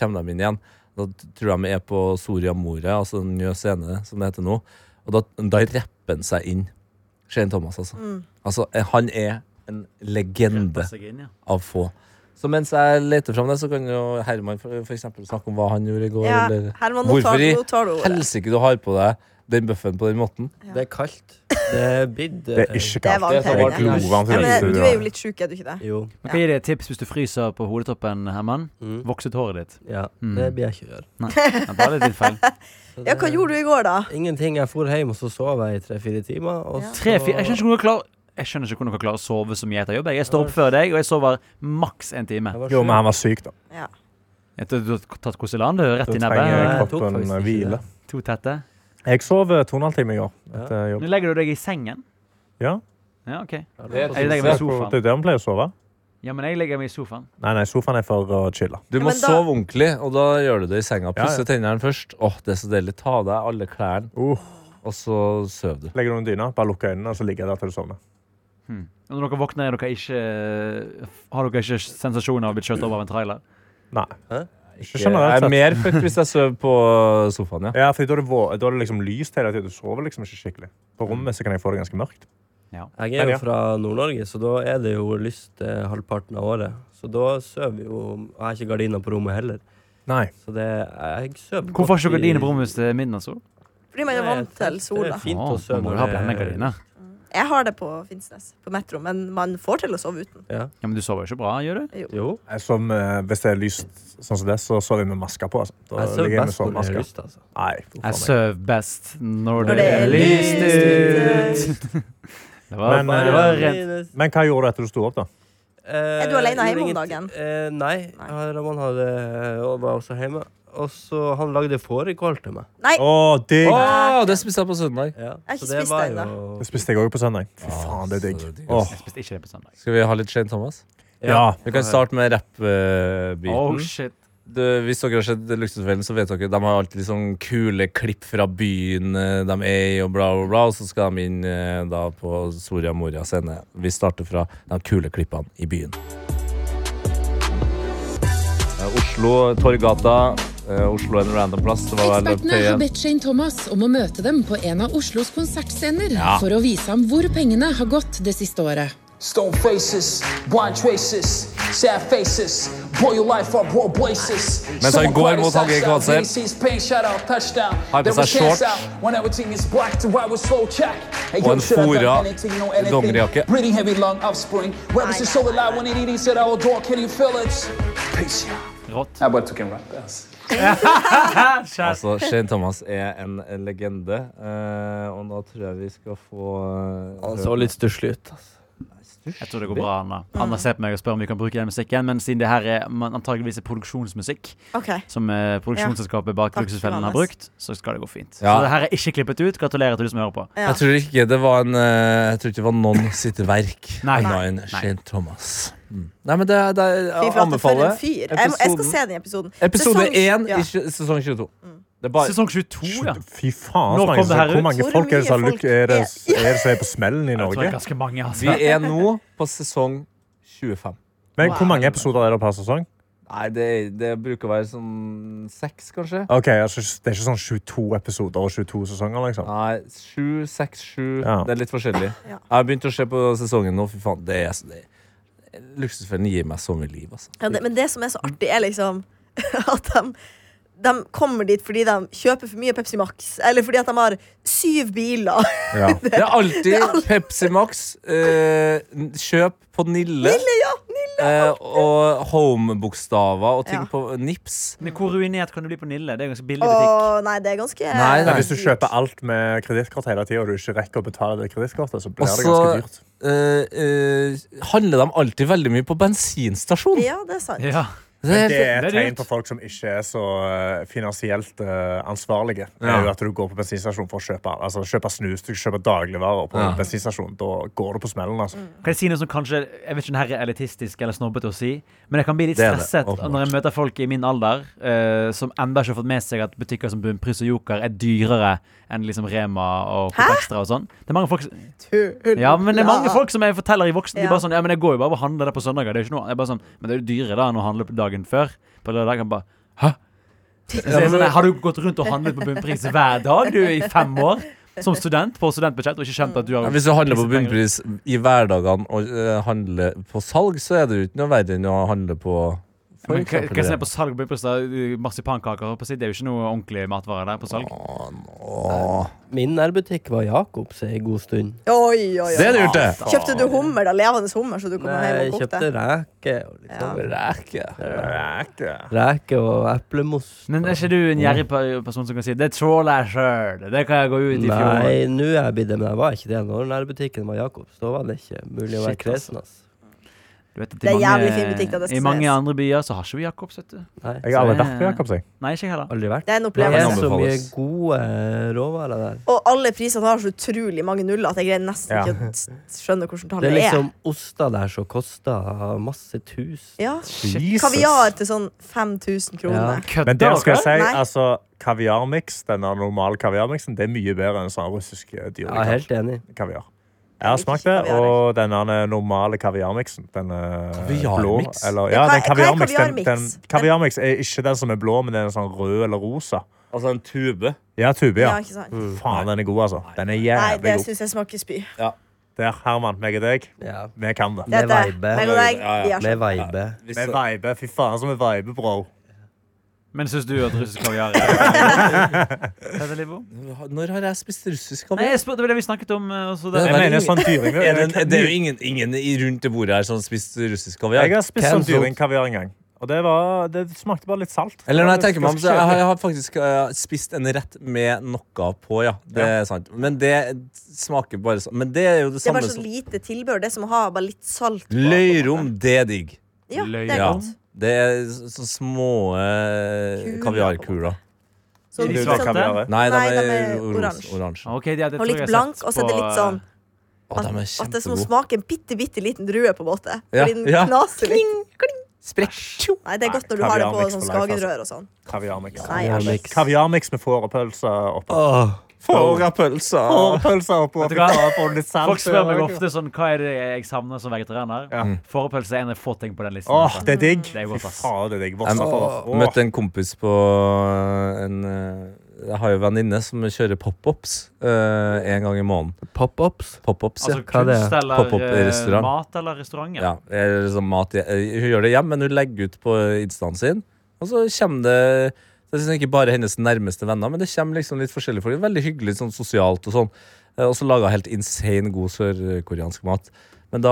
kommer de inn igjen. Da tror jeg vi er på Soria Moria, altså den nye scene, som det heter nå. Og da, da rapper han seg inn. Shane Thomas, altså. altså. eh, Han er en legende seg inn, ja. av få. Så mens jeg leter fram det, så kan jo Herman for, for eksempel snakke om hva han gjorde i går. Ja, eller Herman, nå tar, Hvorfor i nå tar du ordet. helsike du har på deg den bøffen på den måten? Det er kaldt. Det er eh, bidd. Det er ikke Det er kaldt. varmt Det her er inne. glovarmt i Ja, dette men, du er jo studioet. litt sjuk, er du ikke det? Jo. Vi kan gi deg et tips hvis du fryser på hodetoppen, Herman. Mm. Voks ut håret ditt. Ja. Mm. Det blir jeg ikke gjøre. Men bare litt din feil. Så Ja, det- hva gjorde du i går, da? Ingenting. Jeg for hjem, og så sov jeg i tre-fire timer. Og Ja. så Tre, fire, jeg skjønner ikke hvordan dere klarer Jeg skjønner ikke hvordan dere klarer å sove så mye etter jobb. jeg. Jeg står opp før deg, og jeg sover maks en time. Jeg var Jo, sjuk. men han var syk, da. Ja. Jeg tror Du har tatt Koselan, du. Rett Da i trenger nebbet. jeg- tok kroppen faktisk eh, ikke hvile. det. To tette. Jeg sov eh, to og en halv time i går etter Nå jobb. legger du deg i sengen. Ja. Ja, ok. Ja, det var Jeg legger Det meg er i sofaen. der vi pleier å sove. Ja, men jeg legger meg i sofaen. Nei, nei, sofaen er for å chille. Du Ja, må men da- sove ordentlig, og da gjør du det i senga. Ja, ja. Pusse tennene først. Åh, det er så deilig. Ta av deg alle klærne, Uh, og så sover du. legger du under dyna, bare lukker øynene, og så ligger jeg der til du sovner. Hmm. Og Når dere våkner, er dere ikke, eh, har dere ikke sensasjonen av å bli kjørt over av en trailer? Nei. Hæ? Ikke generelt jeg sett. er mer fucked hvis jeg sover på sofaen, ja. Ja, fordi da er det, vå- da er det liksom lyst hele tiden. Du sover liksom ikke skikkelig. På rommet så kan jeg få det ganske mørkt. Jeg Men ja. er jo fra Nord-Norge, så da er det jo lyst eh, halvparten av året. Så da sover vi jo Jeg har ikke gardiner på rommet heller. Nei. Så det jeg sover Hvorfor har ikke godt dere i- dine på rommet hvis det er midnattssol? Fordi man er vant til Det sola. er fint Å, å da sove må du når ha det- blendegardiner. Jeg har det på Finnsnes, på metro, men man får til å sove uten. Ja, men du sover jo ikke bra, gjør du? Jo. Jeg som, eh, hvis det er lyst sånn som det, så sover jeg med maske på. Altså. Da Jeg ligger sover jeg med best når jeg har sovemaske. lyst, altså. Nei, for Jeg faen meg. sover best når Når det er lyst ut. Det var, Men, det var eh, rent. Men hva gjorde du etter du sto opp, da? Eh, Er du alene jeg hjemme om gjorde dagen? ingenting- Eh, nei. Nei. Ja, Ramon hadde, eh, og var også hjemme. Og så han lagde fårikål til meg. Nei, Å, digg! Åh, det spiste jeg på søndag. Ja. har så ikke spist var det jo- Det spiste jeg òg på søndag. Fy faen, det er digg. så digg, Åh, Jeg spiste ikke det altså. på søndag. Skal vi ha litt Shane Thomas? ja. Vi kan starte med eh, rapp-biten. Oh shit. du, hvis dere har sett Luksusfellen, så vet dere de har alltid sånn kule klipp fra byen eh, de er i, og bla, bla, bla. Og så skal de inn eh, da på Soria Moria scene. Vi starter fra de kule klippene i byen. Eh, Oslo, Torgata. eh, Oslo er en random plass. Det var vel Ekspertene har P1. bedt Shane Thomas om å møte dem på en av Oslos konsertscener Ja. for å vise ham hvor pengene har gått det siste året. Stone faces, blind traces, sad faces, boil your life up, bro blazes. Men så Someone går cried mot his eyes Hallgeir out, Kvadsheim. VC's pain, shout out, touchdown. Har på There seg was hands shorts. out When everything is black, the white was slow check. Hey, Og yo, en should I done fora anything, no anything? dongerijakke. Breathing heavy lung offspring. Rebels Nei, is so nei, alive when it eating said our door, can you feel it? Peace, yeah. Rått. How about you can rap this? Altså, Shane Thomas er en legende. eh, og nå tror jeg vi skal få eh, Han høre- så litt stusslig ut. Altså. Jeg tror det går bra, Anna. Anna ser på meg og spør om vi kan bruke den musikken, men siden det her er man antageligvis er produksjonsmusikk, OK. som eh, produksjonsselskapet bak Takk, Luksusfellen har Johannes. brukt, så skal det gå fint. Ja. Så det her er ikke klippet ut. Gratulerer til du som hører på. Ja. Jeg tror ikke det var en eh, Jeg tror ikke det var noen sitt verk Nei. annet Nei. enn Nei. Shane Thomas. Mm. Nei, men det, er- det er- Fy jeg flate, for anbefaler en fyr. Jeg, må- jeg skal se den episoden. Episode 1 Sesong- ja. Mm. i tjue- sesong 22. Det er bare Sesong 22, ja. Fy faen, Nå så mange, kom det her hvor ut. mange Hvor folk er det som mye har folk lykke- er det, er- er det som er på smellen i Jeg tror det Norge? er ganske mange, altså. Vi er nå på sesong 25. Men hvor mange episoder er det per sesong? Nei, det, det bruker å være sånn seks, kanskje. Ok, altså, Det er ikke sånn 22 episoder og 22 sesonger, liksom? Nei, sju, seks, sju. Ja. Det er litt forskjellig. Ja. Jeg har begynt å se på sesongen nå. Fy faen, det er, det er Luksusfellen gir meg så mye liv, altså. Ja, det, men det som er så artig, er liksom at de, de kommer dit fordi de kjøper for mye Pepsi Max, eller fordi at de har syv biler. Ja. Det er alltid Pepsi Max, eh, kjøp på Nille, Nille, ja! Nille. eh, og Home-bokstaver og ting Ja. på Nips. Men hvor ruinert kan du bli på Nille? Det er en ganske billig butikk. Å, nei, det er ganske Nei, nei. Men hvis du kjøper alt med kredittkort hele tida, og du ikke rekker å betale det kredittkortet, så blir Og så- det ganske dyrt. Eh, eh, handler de alltid veldig mye på bensinstasjon? Ja, det er sant. Ja. Det Eh, er Det helt- er et det er tegn dyrt. på folk som ikke er så eh, finansielt eh, ansvarlige. Det Ja. er jo at du går på bensinstasjon for å kjøpe, altså, kjøpe snus, du kjøper dagligvarer på Ja. bensinstasjon. Da går du på smellen, altså. Mm. Kan jeg si noe som kanskje Jeg vet ikke om det her er elitistisk eller snobbete å si, men jeg kan bli litt Det er det, stresset åpenbart. når jeg møter folk i min alder eh, som ennå ikke har fått med seg at butikker som Bunnpris og Joker er dyrere enn liksom Rema og Coop Extra og sånn. Det er mange folk som- Tull. Ja, men det er mange Ja. folk som jeg forteller i voksen De Ja. bare sånn Ja, men jeg går jo bare og handler der på søndager. Det er jo ikke noe Jeg bare sånn Men det er jo dyrere da enn å handle på dagen før. På lørdag kan bare Hæ? Så jeg er sånn, har du gått rundt og handlet på bunnpris hver dag du i fem år? Som student på studentbudsjett og ikke skjønt at du har Ja, Hvis du handler på disse bunnpris pengene? i hverdagene og eh, handler på salg, så er det jo ikke noe verre enn å handle på for Men hva, eksempel hva som er Rema. på salg på Bunnpris, da? Uh, Marsipankaker? holdt på å si. Det er jo ikke noe ordentlig matvarer der på salg. Min nærbutikk var Jacobs ei god stund. Oi, oi, Det oi. er dyrt, det! Kjøpte du hummer, da? Levende hummer, så du kom hjem Jeg og kokte? kjøpte reker og litt Ja. sånn. Ræke. Reker og eplemos. Men er ikke du en gjerrig pe- person som kan si 'det tråler jeg sjøl', det kan jeg gå ut i fjor? Nei, nå er jeg blitt det, men jeg var ikke det. Når nærbutikken var Jacobs, da var det ikke mulig å være Shit, altså. kresen. ass. Du vet at i Det er mange- jævlig fin butikk, da, det skal I mange sies. andre byer så har ikke vi Jacobs, vet du. Nei, Jeg har aldri Så- vært på Jacobs. jeg. Nei, ikke jeg heller. aldri vært. Det er en Det opplevelse. er så mye anbefales. gode råvarer der. Og alle prisene har så utrolig mange nuller at jeg greier nesten Ja. ikke å s- skjønne hvordan Det tallet er er. liksom oster der som koster masse tusen. Ja. Jesus. Kaviar til sånn 5000 kroner. Kødder Men der skal jeg dere? si, Nei. altså, kaviarmiks, denne normale kaviarmiksen, det er mye bedre enn sånn russisk eh, dyre Jeg er helt enig. kaviar. Jeg har liker smakt ikke det, kaviar, og den der normale kaviarmiksen, den eh, blå Kaviarmiks? eller, Ja, ja, hva- den hva er kaviarmiks, den, kaviarmiks? den, kaviarmiks er ikke den som er blå, men den er sånn rød eller rosa. Altså en tube. Ja, tube, Ja, ja. ikke sant? Faen, den er god, altså. Den er Nei, jævlig det god. syns jeg smaker spy. Der, Herman, meg og deg, Ja. vi kan det. Med Dette, vibe. meg og deg, Ja, ja. vi har Med sånn. vibe. Vi viber. Fy faen, som vi viber, bro. Men syns du at russisk kaviar er Er det Livo? Når har jeg spist russisk Nei, kaviar? jeg spurte, det var det vi snakket om. eh, Også Det Jeg der. er veldig- mener sånn dyring Er det, det er jo ingen, ingen i- rundt det bordet her som har spist russisk Jeg kaviar. har spist sånn Cancelled. dyringkaviar en gang. Og det, var, det smakte bare litt salt. Eller når jeg Det tenker var meg om, så ganske jeg har, kjedelig. jeg har faktisk eh, spist en rett med noe på, ja. Det er sant. Men det smaker bare sånn. Men det er jo det Det er samme bare så som lite tilbehør. Det er som å ha bare litt salt. på, på en måte. Løyrom, det er digg. Ja, det er Løyrom. godt. Det er så små eh, Kuler, kaviarkuler. Så Er de litt svarte? sånn- Kaviar, ja. Nei, de Nei, er, de er ros- oransje. oransje. Ok, ja, det og tror litt jeg jeg har blank, sett og så er det på, eh, litt sånn Å, de er at det er som å kjempegode. smake en bitte, bitte liten drue, på en måte. Ja, Fordi den ja. knaser litt. Sprekk. Nei, det er godt når du Nei, har det på kaviarmiks sånn for life, altså. skagerrør og sånn. Kaviarmiks. Nei, æsj. Kaviarmiks med fårepølse oppå. Fårapølser. Fårepølse oppå. Vet du hva? Fy faen, får du litt eh, salt Folk spør meg i øret? ofte sånn Hva er det jeg savner som vegetarianer? Ja. Mm. Fårepølse er en av få ting på den listen. Åh, altså. det er digg. Det er godt, Fy ass. faen, det er digg. Jeg Vossa får. mø- Åh. møtte en kompis på en eh, Jeg har jo venninne som kjører pop-ups eh, en gang i måneden. Pop-ups. Pop-ups, ja. Altså hva er det? kunst eller eh, Pop-up-restaurant. mat eller restaurant? ja eller liksom mat, eh, hun gjør det hjemme, men hun legger ut på instaen sin. Og så kommer det Det er liksom ikke bare hennes nærmeste venner, men det kommer liksom litt forskjellige folk. Veldig hyggelig sånn sosialt og sånn. Eh, Og så laga helt insane god sørkoreansk mat. Men da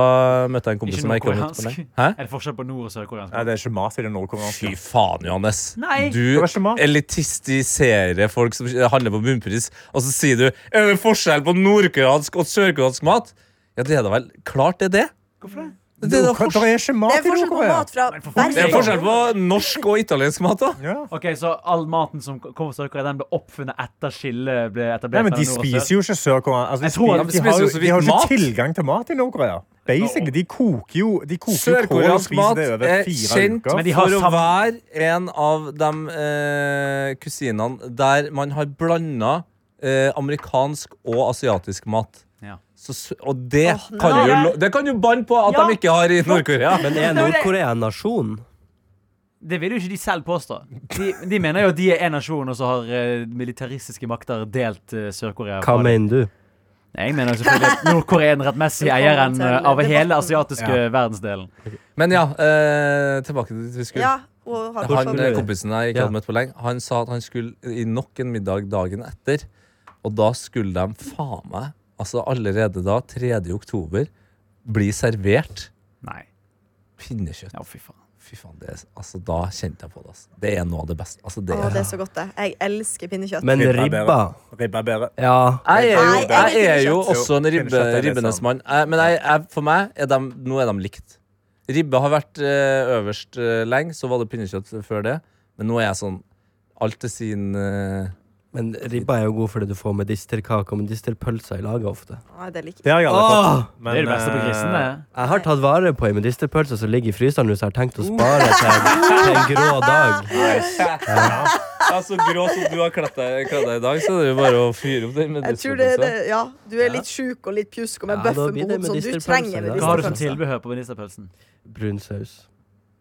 møtte jeg en kompis Ikke som jeg ikke har møtt på nordkoreansk? lenge. Hæ? Er det forskjell på nord- og sørkoreansk? Nei, det er ikke mat i det Fy nordkoreanske. faen, Johannes. Nei. Du Det var ikke mat. elitistiserer folk som handler på bunnpris, og så sier du Er det forskjell på nordkoreansk og sørkoreansk mat? Ja, det er da vel klart det er det. Hvorfor det? Det, Det er da er forskjell. ikke Det er mat i forskjell på Nord-Korea. mat fra Men for faen, verden. Det er forskjell på norsk og italiensk mat, da. Ja. Ok, Så all maten som kom fra Sør-Korea, den ble oppfunnet etter skillet ble etablert? Nei, men De mellom nord og sør? spiser jo ikke Sør-Korea. Altså, de, Jeg tror spiser- de de, spiser har jo jo- så de har jo vidt mat. ikke tilgang til mat i Nord-Korea. Basically, De koker jo De koker jo kål og Sørkoreansk spiser mat det over er fire kjent uker. Men de har for å sam- være en av de eh, kusinene der man har blanda eh, amerikansk og asiatisk mat. Ja. Så, s- og det, Åh, kan nei. jo, lo- det kan jo banne på at Ja. de ikke har i Nord-Korea. Men er Nord-Korea en nasjon? Det vil jo ikke de selv påstå. De, de mener jo at de er en nasjon, og så har eh, militaristiske makter delt eh, Sør-Korea. Hva fra det. mener du? Jeg mener selvfølgelig at Nord-Korea er den rettmessige eieren Velkommen til eh, av hele debatten. asiatiske verdensdelen. Men ja, eh, tilbake til dit vi skulle. Ja, og han, Han, skulle eh, du? kompisen jeg ikke Ja. hadde møtt på lenge, han sa at han skulle i nok en middag dagen etter. Og da skulle de faen meg, altså allerede da, 3. oktober, bli servert Nei. pinnekjøtt. Ja, fy faen. Fy faen, det, er- altså, da kjente jeg på det. Altså. Det er noe av det beste. Altså, det, Å, det er så godt, det. Jeg elsker pinnekjøtt. Men Ribba er ribba bedre. Ribba er bedre. Ja. Jeg er jo, jeg Nei, jeg liker er jo pinnekjøtt. også en Jo, ribbe, pinnekjøtt er litt ribbenes sånn. mann. Jeg, men jeg, jeg, for meg er de, nå er de likt. Ribbe har vært eh, øverst eh, lenge, så var det pinnekjøtt før det. Men nå er jeg sånn Alt til sin eh, Men ribba er jo god fordi du får medisterkake og medisterpølser i laget ofte. Nei, det liker jeg. Det har jeg aldri fått. Åh! Men, det er det beste på eh, krisen, det. Jeg har tatt vare på ei medisterpølse som ligger i fryseren hvis jeg har tenkt å spare til, til en grå dag. Ja, så grå som du har kledd deg kledd deg i dag, så er det jo bare å fyre opp den med Jeg tror det er det, distelpølse. ja, Du er litt sjuk og litt pjusk og med Ja, da bøffen på blir det hodet, så du medisterpølse, trenger Hva har da. du som medisterpølse. tilbehør på ministerpølsen? Brun saus.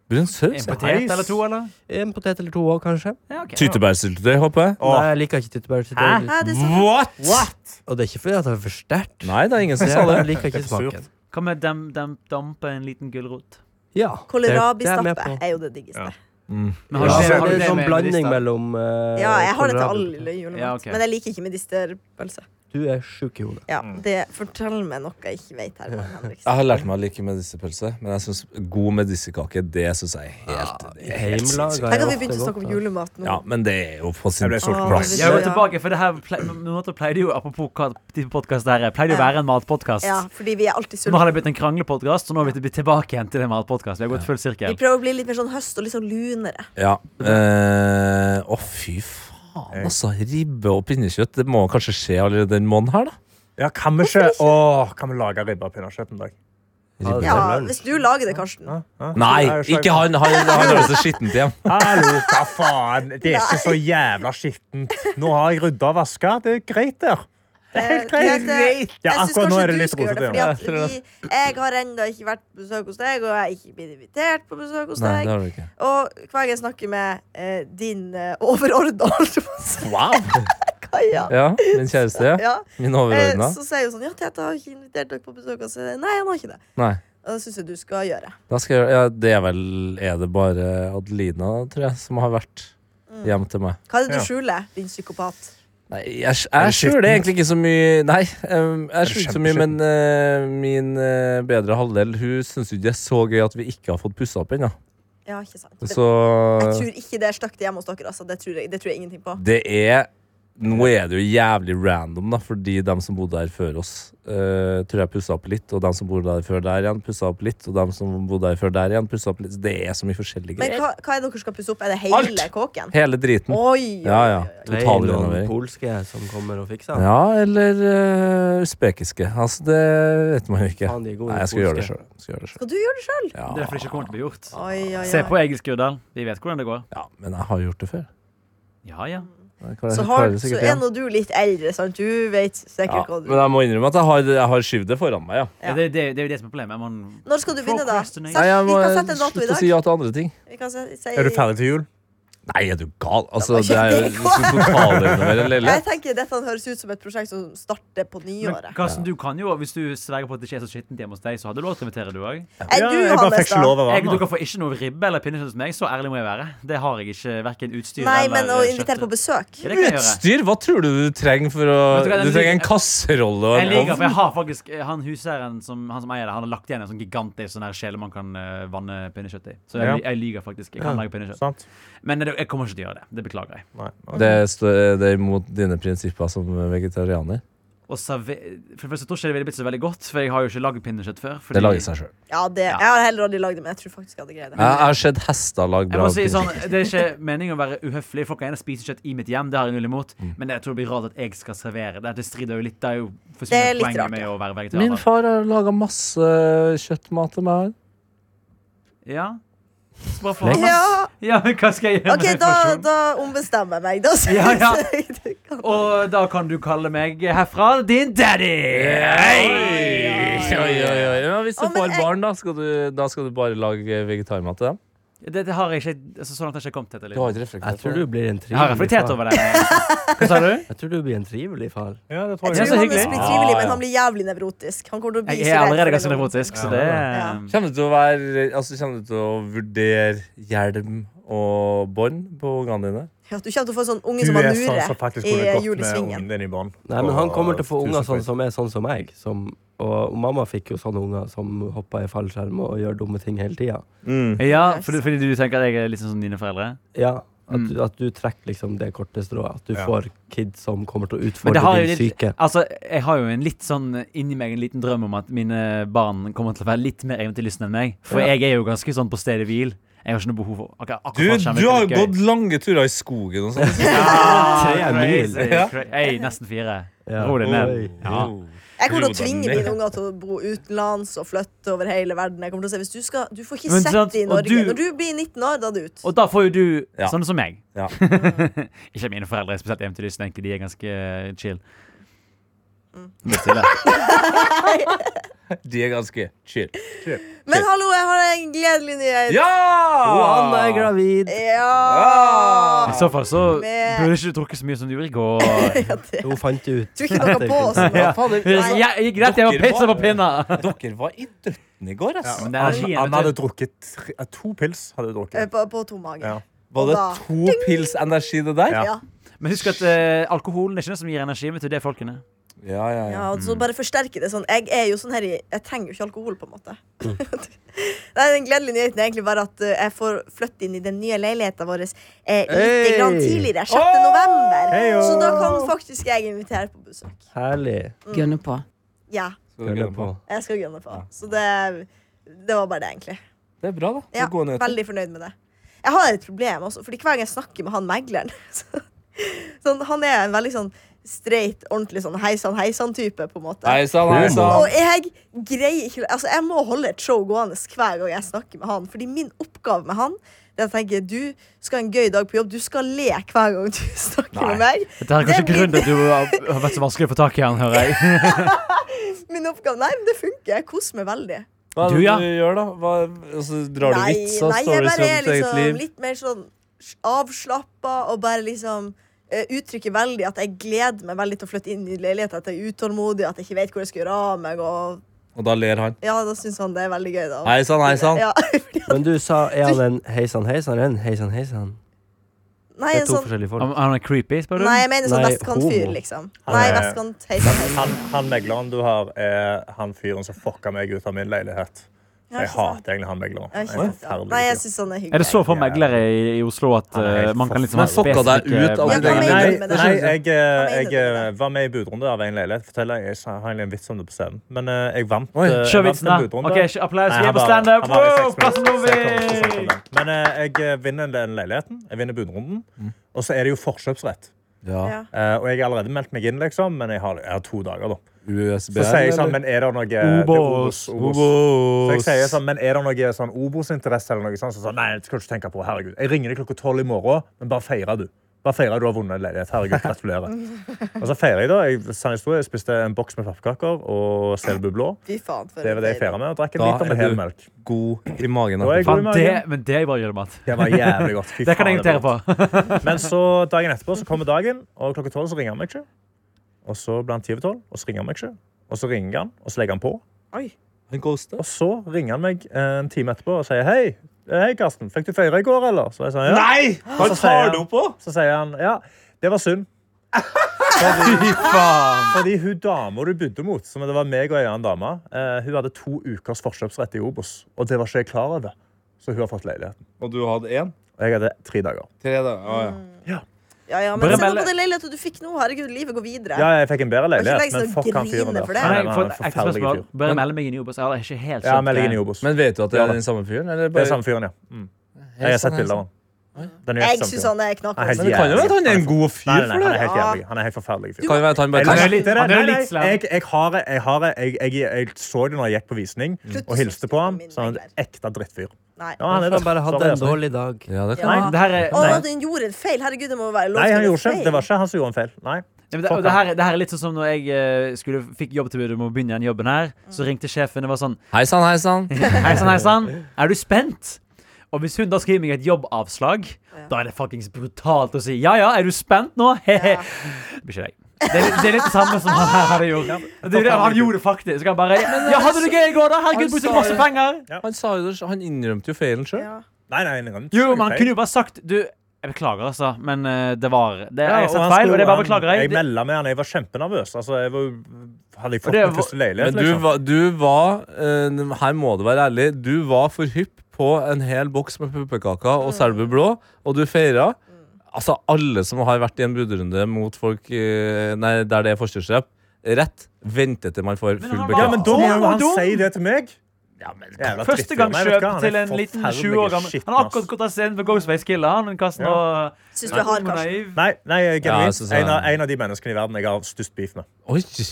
Brun saus? En potet eller to, eller? En potet eller to òg, kanskje. Ja, ok. Tyttebærsyltetøy, håper jeg. Åh. Nei, jeg liker ikke tyttebær. så det er Hæ, litt- det er sånn. What?! Og det er ikke fordi at det er for sterkt. sånn, Nei, det er ingen som sa det. Jeg liker ikke Litt surt. smaken. Hva med dem, dem dampe en liten gulrot? Ja, Kålrabistappe på. er jo det diggeste. Ja. Men Ja, har du- det har du er en det sånn med blanding medister? mellom eh, Ja, jeg har det til kålrabi. all julemat, Ja, ok. men jeg liker ikke medisterpølse. Du er sjuk i hodet. Ja, det fortell meg noe jeg ikke vet her. Martin Henriksen. Jeg har lært meg å like medisterpølse, men jeg synes god medisterkake det synes jeg er helt, det er helt Hjemmelaga sinnssykt. Tenk er at vi begynte å ofte godt. altså. snakke om da. julemat nå. Ja, men det er jo på sin Jeg ble sulten. Åh, Jeg må Ja. tilbake, for det her ple på en måte pleide jo Apropos hva type podkast det her er, pleide jo å Ja. være en matpodkast. Ja, fordi vi er alltid Nå har sultne. det blitt en kranglepodkast, så nå har vi blitt tilbake igjen til en matpodkast. Vi har gått full Vi sirkel. prøver å bli litt mer sånn høst og litt sånn lunere. Ja. eh, Å, fy faen, altså. Ribbe og pinnekjøtt. Det må kanskje skje allerede den måneden her, da. Ja, kan vi ikke Åh, kan vi lage ribba og pinnekjøtt en dag? Ha det Ja, til lunsj. hvis du lager det, Karsten. Hæ? Hæ? Nei, Jeg er jo ikke han! Han, han høres så skittent hjem. Hallo, hva faen? Det er ikke så jævla skittent. Nå har jeg rydda og vaska. Det er greit der. Det er helt Eh, greit. jeg- Ja, jeg akkurat syns nå er det kanskje du litt skal gjøre det, rosete, ja. fordi at vi, jeg har ennå ikke vært på besøk hos deg, og jeg har ikke blitt invitert på besøk hos Nei, det deg. har du ikke. Og hver gang jeg snakker med eh, din eh, overordna, holdt jeg på å si, Wow! Kaja, Ja, min kjæreste. ja, Min eh, overordna. så sier hun sånn Ja, Tete har ikke invitert dere på besøk. Og så sier jeg nei, han har ikke det. Nei. Og det syns jeg du skal gjøre. Da skal jeg, gjøre- ja, det er vel Er det bare Adelina, tror jeg, som har vært hjem til meg? Hva er det du Ja. skjuler, din psykopat? Nei, jeg, jeg skjuler egentlig ikke så mye Nei, um, jeg skjuler ikke så mye, men eh, min eh, bedre halvdel Hun syns jo ikke det er så gøy at vi ikke har fått pussa opp ennå. Ja, ikke sant? Det, Så jeg tror ikke det er stygt hjemme hos dere, altså. Det tror jeg, det tror jeg ingenting på. det er Nå er det jo jævlig random, da, fordi dem som bodde her før oss, eh, tror jeg pussa opp litt, og dem som bodde her før der igjen, pussa opp litt, og dem som bodde her før der igjen, pussa opp litt. Så Det er så mye forskjellige Men greier. hva, hva er det dere skal pusse opp? Er det Alt! hele kåken? Hele driten. Oi! Ja, ja. Det er noen Totalrenovering. polske som kommer og fikser den. Ja, eller eh, usbekiske. Altså, det vet man jo ikke. Faen, de er Nei, gode, de jeg skal gjøre det polske. sjøl. Skal gjøre det selv. Skal du gjøre det sjøl? Ja. Det er derfor det ikke kommer til å bli gjort. Oi, oi, oi. Se på Egil Skurdal. Vi vet hvordan det går. Ja, men jeg har gjort det før. Ja, ja. Jeg klarer- Så, jeg klarer har, det så sikkert er igjen. nå du litt eldre, sant? Du vet ja, sikkert hva du men jeg må innrømme at jeg har, jeg har skyvd det foran meg, ja. Ja. ja det, det, det er jo det som er problemet. Man Når skal du begynne, da? Sett, Procrastinate. vi Nei, jeg må kan sette en dato i slutte å dag. si ja til andre ting. Vi kan se- si- Er du ferdig til jul? Nei, er du gal? Altså, Det det var er jo ikke det. totalrenovere en Jeg leilighet. tenker Dette høres ut som et prosjekt som starter på Men nyåret. Karsten, du kan jo, hvis du sverger på at det ikke er så skittent hjemme hos deg, så har du lov til å invitere, du òg. Er Ja, du, jeg bare fikk Hannes, ikke da? lov av han. Dere får ikke noe ribbe eller pinnekjøtt hos meg, så ærlig må jeg være. Det har jeg ikke, hverken utstyr Nei, men å eller invitere på besøk? Ja, det kan jeg gjøre. Utstyr? Hva tror du du trenger for å Vet du hva, Du jeg trenger en liker- kasserolle og Jeg en liker, for ovn? jeg har faktisk eh, Han huseieren som, han som eier det, han har lagt igjen en sånn gigantisk sånn her kjele man kan eh, vanne pinnekjøtt i. Så jeg, Ja. li- jeg liker faktisk. Jeg kan lage pinnekjøtt. Sant? Men det, jeg kommer ikke til å gjøre det. Det beklager jeg. Nei. ok. Det, står- det er imot dine prinsipper som vegetarianer. Og serve, for det første jeg tror ikke det ville blitt så veldig godt, for jeg har jo ikke lagd pinnekjøtt før. fordi- Det lager seg sjøl. Ja, det, jeg har heller aldri lagd det, men jeg tror faktisk jeg hadde greid Jeg, det. jeg har sett hester lage Jeg bra må si sånn, pinnekjøtt. Det er ikke meningen å være uhøflig. Folk kan gjerne spise kjøtt i mitt hjem, det har jeg null imot. Mm. Men jeg tror det blir rart at jeg skal servere. Det, det strider jo litt. Det er jo Det er forsvinner litt poenget rart, med å være Min vegetarianer. far har laga masse kjøttmat til meg. Ja. Så bra for han. Ja, Ja, men hva skal jeg gjøre OK, med da, informasjonen? da ombestemmer jeg meg. Da sier Ja, ja. jeg det kan- Og da kan du kalle meg herfra din daddy! Oi, oi, oi. Ja, hvis du Å, men får jeg- barn, da skal du, da skal du bare lage vegetarmat til dem? Det, det har jeg ikke altså, Så langt har jeg ikke kommet til. Du har ikke Jeg reflektert tror over du det. blir en Jeg har trivelig reflektert far. over det. Hva sa du? Jeg tror du blir en trivelig far. Ja, det tror Det er Jeg tror jeg. så han hyggelig. blir trivelig, Ah, ja. men han blir jævlig nevrotisk. Han kommer til å bli Jeg så er redd allerede for ganske det nå. nevrotisk, så det eh, Ja. Kommer du til å være Altså, kommer du til å vurdere hjelm og bånd på ungene dine? Ja, du kommer til å få en sånn Du unge som har er sånn som nure faktisk i kunne gått med julesvingen. ungen din i bånd. Nei, men han kommer til å få Tusen unger sånn takk. som er sånn som meg. Som, og mamma fikk jo sånne unger som hoppa i fallskjerm og gjør dumme ting hele tida. Ja, fordi, fordi du tenker at jeg er litt sånn som dine foreldre? Ja, at, Mm. du- at du trekker liksom det korte strået. At du Ja. får kids som kommer til å Men utfordre det har jo din litt, psyke. altså, jeg har jo en litt sånn inni meg en liten drøm om at mine barn kommer til å være litt mer eventyrlystne enn meg. For Ja. jeg er jo ganske sånn på stedet hvil. Jeg har ikke noe behov for akkurat, Du, akkurat du har jo gått lange turer i skogen og sånn. Tre mil. Ja. Jeg er nesten fire. Ja. Ro deg ned. Oi. Ja. Jeg kommer til å Jo da, tvinge men- mine unger til å bo utenlands og flytte over hele verden. Jeg kommer til å si, hvis Du skal, du får ikke Men sett sant, det i og Norge. du- Når du blir 19 år, da er det ut. Og da får jo du Ja. sånne som meg. Ja. ikke mine foreldre er spesielt eventyrlystne, egentlig. De er ganske eh, chill. Mm. Blir stille. De er ganske chill. Men hallo, jeg har en gledelig nyhet. Ja! Og Anna er gravid! Ja. I så fall så Men- burde ikke du drukket så mye som du gjorde i går. Hun fant det ut. Tror ikke noe på oss. nå. Ja, fader, altså, Ja, gikk rett hjem og Dere pizza på var- pinna! Dere var i døtten i går, altså. ass. Men det er Han, energien, han vet du. hadde drukket tre, eh, to pils. Hadde jeg Eh, drukket. På, på tom mage. Ja. Var det Og da- to pils energi, det der? Ja. Ja. Men husk at eh, alkoholen er ikke noe som gir energi, vet du. Det er folkene. Ja, ja, Ja, og så bare forsterke det sånn. Jeg er jo sånn her i Jeg trenger jo ikke alkohol, på en måte. Mm. Nei, Den gledelige nyheten er egentlig bare at eh, jeg får flytte inn i den nye leiligheten vår eh, lite Hey! grann tidligere. 6. Åh! november. Heyo! Så da kan faktisk jeg invitere på besøk. Herlig. Gunne på. Ja, Følger på. jeg skal gunne på. Så det, det var bare det, egentlig. Det er bra, da. Det Ja, er gode nyheter. veldig fornøyd med det. Jeg har et problem også, fordi hver gang jeg snakker med han megleren så, sånn, Han er en veldig sånn streit, ordentlig sånn heisan-heisan-type, på en måte. Hei sann, hei Og sann. jeg greier ikke Altså, jeg må holde et show gående hver gang jeg snakker med han. Fordi min oppgave med han Det er å tenke du skal ha en gøy dag på jobb. Du skal le hver gang du snakker med meg. Dette her er kanskje Det blir- grunnen til at du har har vært så vanskelig å få tak i han, hører jeg. Min oppgave Nei, men det funker. Jeg koser meg veldig. Hva er Du, det ja. du gjør, da? Hva, altså, drar du nei, vitser? nei, Står jeg du bare i ditt er eget liksom liv? litt mer sånn avslappa og bare liksom eh, uttrykker veldig at jeg gleder meg veldig til å flytte inn i leiligheten. At jeg er utålmodig, at jeg ikke vet hvor jeg skal gjøre av meg. Og Og da ler han. ja, da syns han det er veldig gøy, da. Hei sann, hei sann. Ja. Men du sa er han en heisan heisan eller en heisan heisan? Nei, Det en er to sånn forskjellige folk. Han han er creepy, spør du? Nei, jeg mener sånn Nei, vestkantfyr, homo. liksom. Han Nei, er- vestkant heisa, heisa. Han, han megleren du har, er han fyren som fucka meg ut av min leilighet. Ja, Jeg ikke sant? hater egentlig han megleren. Ja, Jeg ikke er sant, ja. forferdelig Nei, jeg fyr. syns han er hyggelig. Er det så for meglere i, i Oslo at Han er helt eh, man kan liksom Men ha fucka deg ut av Men ditt hva eget mener liv? Nei, du med det? nei jeg, eh, jeg, Hva mener du med eh, var med i budrunde av en leilighet. Fortell, jeg sa- har egentlig en vits om det på scenen. Men eh, jeg vant, Oi, eh, jeg Kjør vant vitsen, da. en budrunde. OK, kjør applaus. Nei, han Vi er på var- standup. han var i Wow, seks plass minutter, så jeg kommer ikke til å snakke om Novi! det. Men eh, jeg vinner den leiligheten. Jeg vinner budrunden. Og så er det jo forkjøpsrett. Ja. Ja. Eh, og jeg har allerede meldt meg inn, liksom, men jeg har, jeg har to dager, da. USB Så sier jeg sånn, men er det noe det er Obos. Obos. Så jeg sier sånn, men er det noe sånn Obos-interesse eller noe sånt? Så sånn, nei, det skal du ikke tenke på, herregud. Jeg ringer deg klokka tolv i morgen, men bare feirer du. Bare feirer du har vunnet en leilighet. Herregud, gratulerer. Og så feirer jeg da. Jeg, sann historie, jeg spiste en boks med pappkaker og Selbu blå. Fy faen, for Det var det jeg feiret med, og drakk en Da liter med er du- helmelk. god i magen. Da er Faen. jeg god i Faen, magen. det, men det er bare julemat. Det var jævlig godt. Fy Det kan jeg faen, invitere var på. godt. Men så dagen etterpå så kommer dagen, og klokka tolv så ringer han meg ikke. Og så blir han ti over tolv, og så ringer han meg ikke. Og så ringer han, og så legger han på. Han ghoster. Og så ringer han meg eh, en time etterpå og sier hei. Hei, Karsten. Fikk du feire i går, eller? Så jeg sa ja. Nei! Så Han sier tar han- det opp òg! Så sier han ja, det var synd. Fy faen. Fordi hun dama du bodde mot, som det var meg og en annen dame, eh, hun hadde to ukers forkjøpsrett i Obos. Og det var ikke jeg klar over. Så hun har fått leiligheten. Og du hadde én? Og jeg hadde tre dager. Tre dager. Å, ja. Ja, ja, men Bare se nå melde- på den leiligheten du fikk nå. Herregud, livet går videre. Ja, jeg fikk en bedre Kan leilighet, ikke legge men seg fuck og han fyren grine der. for det. Kan Han er jeg få en et ekte forferdelig spørsmål? fyr. Bare meld meg inn i Obos. Jeg har ikke helt Ja, skjønt meld deg inn i det. Obos. Men vet du at det Ja, er da. den samme fyren? Eller Det bare er samme fyren, ja. Mm. Jeg har sett bilder av han. Den er helt Jeg samme syns fyren. han er knakk. Han er Men det kan jo være at han er en god fyr Nei, for nei, nei, han er det. helt jævlig. Han er helt forferdelig fyr. Kan jo være at han bare Han er jo Nei, litt- nei, han er nei, jo litt slem. Jeg, jeg, har, det- jeg, har, det. jeg, jeg, jeg, så det når jeg gikk på visning Slutt å og hilste på synes ham. på min Så han er en megler. ekte drittfyr. Nei. Ja, han er Han bare hadde Sorry, en altså. dårlig dag. Ja, det kan. Ja. Det her er, Å, nei, den gjorde en feil. Herregud, det må være lov Nei, han til å gjorde gjøre ikke. feil. Det var ikke han som gjorde en feil. Nei. Ja, men det, Fuck og det, han. her, det her er litt sånn som når jeg eh, skulle, fikk jobbtilbud om å begynne den jobben her. Så ringte sjefen og var sånn Hei sann, hei sann. Hei sann, hei sann. Er du spent? Og Og hvis hun da skal gi meg et jobbavslag, Ja. da er det fuckings brutalt å si ja ja, er du spent nå? Hehe. Ja. Det blir ikke jeg. Det er, det er litt det samme som han her hadde gjort. Ah. Det er det han gjorde faktisk. Han bare Ja, hadde du det gøy i går, da? Han Herregud, brukte sa masse jo- penger. Han, sa jo det, han innrømte jo feilen sjøl. Ja. Nei, nei, nei, nei. Jo, men han kunne jo bare sagt Du, jeg beklager, altså, men eh, det var det, Ja, og Jeg satt han feil, og det skulle- bare beklager han- Jeg jeg. Det, melda med han, jeg var kjempenervøs. Altså, jeg var, hadde jeg fått det min var- første leilighet, Men du liksom. var, du var eh, Her må du være ærlig. Du var for hypp på en hel boks med pepperkaker og Selbu blå, og du feira. Altså, alle som har vært i en budrunde mot folk eh, nei, der det er forstyrrelseshjelp, rett, venter til man får Men full han var- Ja, men bekreft. da må Han jo var han dum. si det til meg! Jævla første drittfyr. gang Nei, vet du kjøp hva, han er til en liten forferdelig 20 år gammel skitten, Han har akkurat ass. gått av scenen med Ghostface Killer, han Karsten. Ja. Og, Syns du er hard, og Karsten? naiv. Nei, nei jeg, Ja, jeg genuint, synes en, av, han- en av de menneskene i verden jeg har størst beef med. Oi! Hva-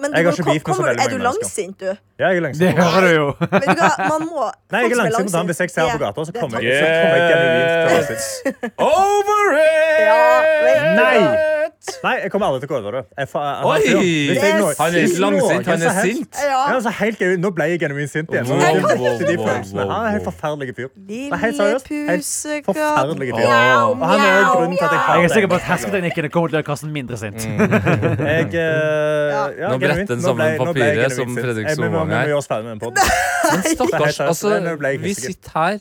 Men du, Jeg har må- ikke beef med så kommer- veldig Er du mange mennesker. langsint, du? Ja, jeg er Det langsint. hører du jo. Vet du hva, man må Nei, jeg folk er som langsint men hvis jeg ser på det- gata, så det er kommer takk. jeg, så kommer jeg genuint til å være sint. Over Ja, it! Nei! Nei, jeg kommer aldri til å gå over det. Jeg, fa- jeg, Oi! Hvis jeg nå- Han er hvis ikke langsint, noen han som er helst- sint. Ja. Ja, altså, helt, genuint. nå ble jeg genuint sint igjen. Wow, Det er wow, helt riktig, de wow, følelsene. wow, Han er en wow. helt forferdelig fyr. Nei, helt Lille seriøst. Helt pusekatt. forferdelig fyr. Mjau, Og han er jo mjau, grunnen til at jeg har Jeg er Mm, det. sikker på at hersketeknikkene kommer til å gjøre Karsten mindre sint. Jeg, eh, ja, Nå bretter genuint. den Nå ble- sammen nå ble jeg papiret genuint som sint. Fredrik Jeg- vi må- Solvang Vi må her. gjøre oss ferdig med den podden. Stakkars. Altså, Nei, nå ble jeg vi hysterisk. sitter her Ja.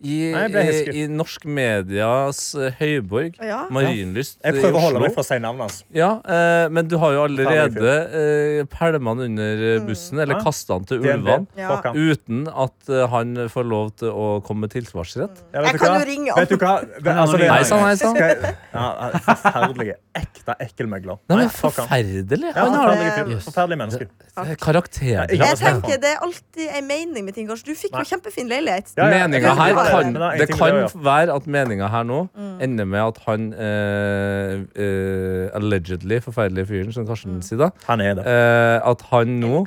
i, Nei, jeg ble hysterisk. i, i norsk medias eh, høyborg. Ja. Marienlyst Jeg i prøver å holde Oslo. meg fra å si navnet hans. Ja, eh, men du har jo Ferdig, allerede eh, pælma han under Mm. eh, bussen, eller Ja. kasta han til DNB. ulvene. Ja. Fuck han. Uten at eh, han får lov til å komme med tilsvarsrett. Ja, vet Jeg du kan hva? jo ringe Vet du hva? Altså, det- Hei sann, hei sann. Skal- Ja, Forferdelige, ekte ekkelmegler. Nei, men fuck han. forferdelig! Ja, Han har forferdelige fyr. Jøss. Forferdelige mennesker. Eh, karakterer. Ja, Jeg det er sant. tenker Det er alltid en mening med ting. Kanskje du fikk jo Nei. kjempefin leilighet. Ja, ja, ja. Meninga her Ja, ja, ja. kan, Men det har det ingenting med kan det å være at meninga her nå Mm. ender med at han eh, eh, allegedly forferdelige fyren, som Mm. Karsten sier da, Han er det. eh, at han nå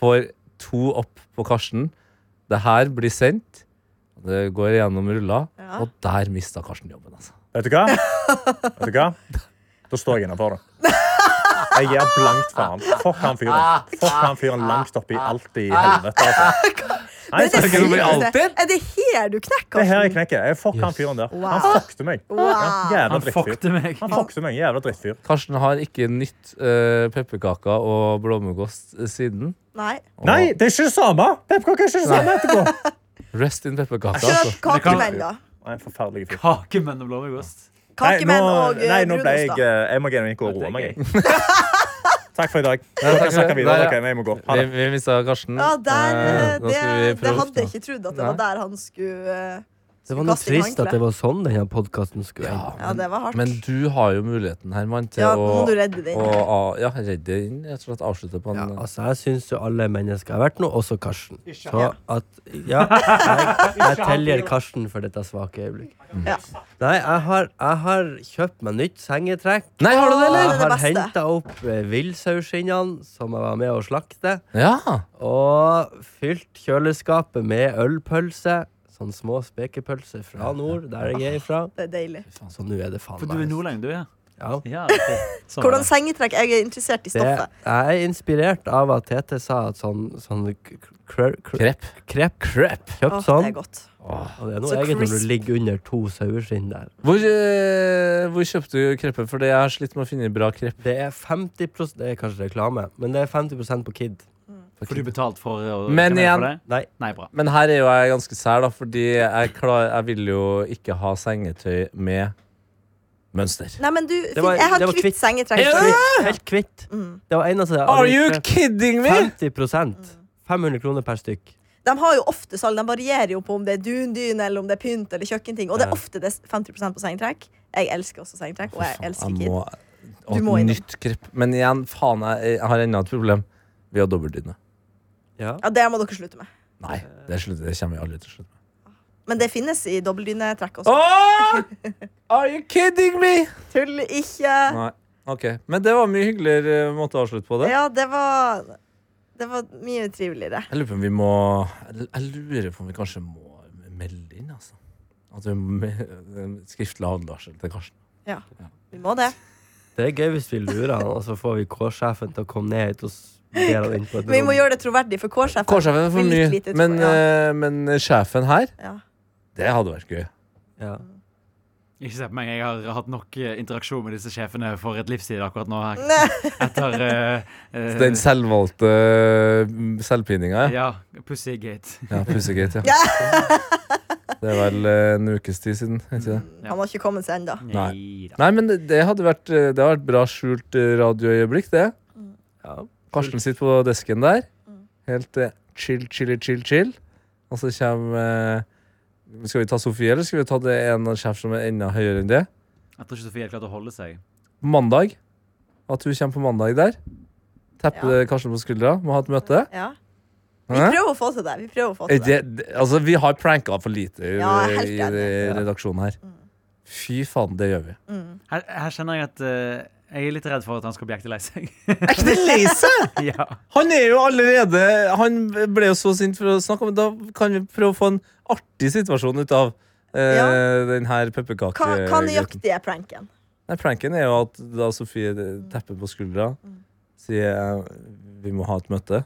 får to opp på Karsten. Det her blir sendt. Det går gjennom rulla, Ja. og der mista Karsten jobben. Altså. Vet du hva? Vet du hva? Da står jeg innafor det. Jeg gir blankt faen. Fuck han fyren. Fuck han fyren langt oppi alt i helvete. Altså. Nei, Men det ikke noe bli fuck- sykeste- alltid. Er det her du knekker? det er her jeg Karsten? knekker. Jeg fuck han fyren der. Han Wow. fuckte meg. Wow. Ja, Jævla Han drittfyr. fuckte meg. Han fuckte meg. Jævla drittfyr. Karsten har ikke nytt uh, pepperkaker og blåmuggost eh, siden. Nei. Og Nei, det er ikke det samme! Pepperkaker er ikke det samme etterpå. Rest in pepperkaker. Altså. Kjøp kakemenn, da. Nei, forferdelig fyr. Kakemenn og blåmuggost. Nei, Kakemenn og nå, nei, eh, nå ble jeg brunost, da. eh, Jeg må genuint gå og roe meg. jeg. Takk for i dag. Nei, Dere takk kan for det. snakke videre. Der, dere, ja. men jeg må gå. Ha Vi, det. altså. vi mista Karsten. Ja, der, eh, Eh, da det, skal vi det prøve oss hadde nå. jeg ikke trodd at det var der han skulle eh, Det var noe Kaste i trist at det var sånn denne podkasten skulle ende. Ja, det var hardt. Men du har jo muligheten, Herman, til Ja, nå å, må du redde det inn. å a- ja, redde det inn. Rett og slett avslutte på en Ja, altså, jeg syns jo alle mennesker har vært noe, også Karsten. Så han. at Ja, jeg, jeg tilgir Karsten for dette svake øyeblikk. Ja. Nei, jeg har, jeg har kjøpt meg nytt sengetrekk. Nei, har du det, eller? Det Jeg er det har beste. henta opp eh, villsausskinnene som jeg var med å slakte, Ja! og fylt kjøleskapet med ølpølser. Sånne små spekepølser fra nord, der jeg er ifra. Det er deilig. Så nå er det faen For du er nordlending, du, ja? Ja. Ja, ok. Sånn var Hvordan det. sengetrekk? Jeg er interessert i Det, stoffet. jeg er inspirert av at Tete sa at sånn, sånn k- krø- krø- Krepp. Krepp. Kjøpt Åh, sånn. det er godt. Og det er noe Så eget når crisp. du ligger under to saueskinn der. Hvor, eh, hvor kjøpte du kreppen? For jeg har slitt med å finne bra krepp. Det er 50 Det er kanskje reklame, men det er 50 på Kid. Får du betalt for å Men reklamere for igjen- det? Nei, Nei, bra. Men her er jo jeg ganske sær, da, fordi jeg, klar, jeg vil jo ikke ha sengetøy med mønster. Nei, men du, var- jeg har det var kvitt kvitt. sengetrekk. helt kvitt. Helt kvitt. Mm. Det var eneste jeg Are aldri you prøvd. kidding me?! 50 500 kroner per stykk. De har jo ofte salg. De varierer jo på om det er dundyne eller om det er pynt eller kjøkkenting. Og det er ofte det er 50 på sengetrekk. Jeg elsker også sengetrekk, og jeg elsker Jeg kid. må, og Du må et innom. nytt krepp. Men igjen, faen, jeg, jeg har enda et problem. Vi har dobbeltdyne. Ja. Ja, det må dere slutte med. Nei, det, er slutt, det kommer vi aldri til å slutte med. Men det finnes i dobbeltdynetrekk også. Åh! Are you kidding me?! Tull ikke! Nei. Ok, Men det var mye hyggeligere eh, måte å avslutte på det. Ja, det var Det var mye triveligere. Jeg lurer på om vi må Jeg jeg lurer på om vi kanskje må melde inn, altså. At vi må me- eh, Skriftlig advarsel til Karsten. Ja. Vi må det. Det er gøy hvis vi lurer han, og så får vi K-sjefen til å komme ned hit og s- ber han inn på et Men vi må rom. gjøre det troverdig for K-sjefen. K-sjefen er for Vi liker mye, lite, tror men, jeg. eh, men sjefen her Ja. Det hadde vært gøy. Ja. Ikke se på meg, jeg har hatt nok eh, interaksjon med disse sjefene for et livstid akkurat nå. her. Nei. Etter eh, eh, Den selvvalgte mm, selvpininga, ja. Ja, Pussygate. ja Pussegate, ja. Det er vel eh, en ukes tid siden. er Ikke det? Han har ikke kommet seg ennå. Nei. Neida. Nei, men det- det hadde vært, eh, det hadde vært bra skjult eh, radioøyeblikk, det. Mm. ja. Karsten sitter på desken der. Helt eh, chill, chill, chill, chill. Og så kommer eh, Skal vi ta Sofie, eller skal vi ta det en sjef som er enda høyere enn det? Jeg tror ikke Sofie helt klarte å holde seg. På mandag. At hun kommer på mandag der. Tapper Ja. eh, Karsten på skuldra. Må ha et møte. Ja. Vi Hæ? prøver å få til det. Vi prøver å få Eh, til det. Det, det, altså, vi har pranka for lite i, Ja, jeg er helt i, enig. i redaksjonen her. Fy faen, det gjør vi. Her, her kjenner jeg at eh, jeg er litt redd for at han skal bli ekte lei seg. Er ikke det lei seg?! ja. Han er jo allerede Han ble jo så sint for å snakke om det. Da kan vi prøve å få en artig situasjon ut av eh, Ja. den her Hva, hva pepperkakegutten. nøyaktig er pranken? Nei, Pranken er jo at da Sofie tepper på skuldra, sier eh, vi må ha et møte.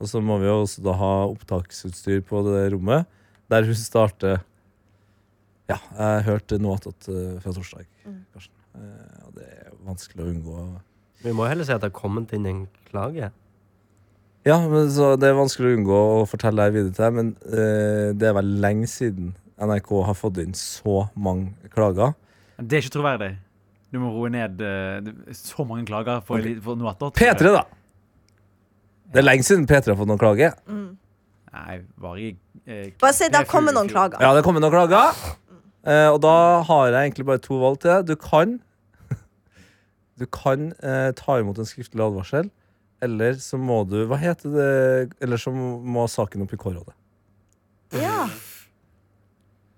Og så må vi jo også da ha opptaksutstyr på det rommet, der hun starter Ja, jeg hørte noe attåt eh, fra torsdag, Karsten. Eh, og det er vanskelig å unngå. Vi må heller si at det har kommet inn en klage. Ja, men så Det er vanskelig å unngå å fortelle her videre til deg, men eh, det er vel lenge siden NRK har fått inn så mange klager. Det er ikke troverdig. Du må roe ned eh, det- så mange klager for, okay. for noe attåt. P3, da! Det er lenge siden P3 har fått noen klage. Nei, bare i eh, Bare si det har P4 kommet noen i fjor. klager. Ja, det kommer noen klager. Eh, og da har jeg egentlig bare to valg til deg. Du kan Du kan eh, ta imot en skriftlig advarsel, eller så må du Hva heter det Eller så må saken opp i K-rådet. Ja.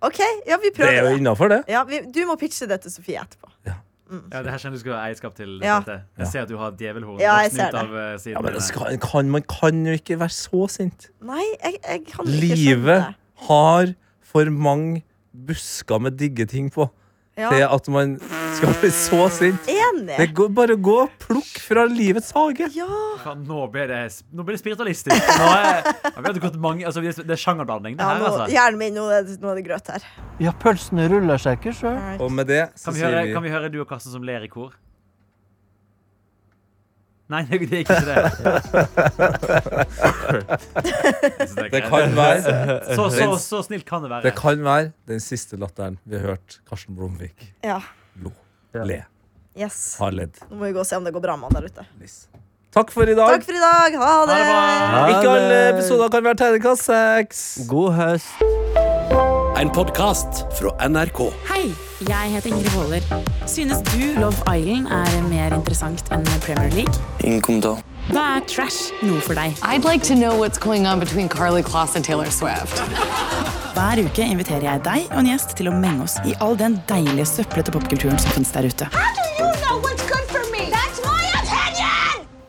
OK, ja, vi Det er prøver jo det. innafor, det. Ja, vi, du må pitche det til Sofie etterpå. Ja, det her kjenner du skal ha eierskap til. Ja. Dette. Jeg ser at du har djevelhorn Ja, jeg voksen ser ut det. av eh, siden. Ja, men din det her. skal, kan, man kan jo ikke være så sint. Nei, jeg, jeg kan ikke skjønne det. Livet har for mange busker med digge ting på til Ja, at man skal bli så sint. Det enig. går bare å gå og plukke fra livets hage. Ja. Faen, nå ble det, nå ble det spiritualistisk. Nå er, jeg vet, det, gått mange, altså, det er sjangerblanding. Det ja her, nå, altså. hjernen min, nå er det, nå er det grøt her. Ja, pølsene ruller seg ikke sjøl. Og med det så Kan vi, sier høre, vi kan vi høre du og Karsten som ler i kor? Nei, det det er ikke det. Jeg synes Det er kan greit. være så, så, så snilt kan det være. Det kan være den siste latteren vi har hørt Karsten Blomvik Ja. lo, le, Yes. har ledd. Nå må vi gå og se om det går bra med han der ute. Liss. Takk for i dag. Takk for i dag. Ha Ha det bra! Ikke alle episoder kan være terningkast seks. God høst! En podcast fra NRK. Hei, jeg heter Ingrid Waaler. Synes du Love Island er mer interessant enn Premier League? Ingen kommentar. Da er trash noe for deg. I'd like to know what's going on between Carly Kloss and Taylor Swift. Hver uke inviterer jeg deg og en gjest til å menge oss i all den deilige søplete popkulturen som finnes der ute.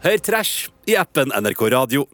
Hør trash i appen NRK Radio.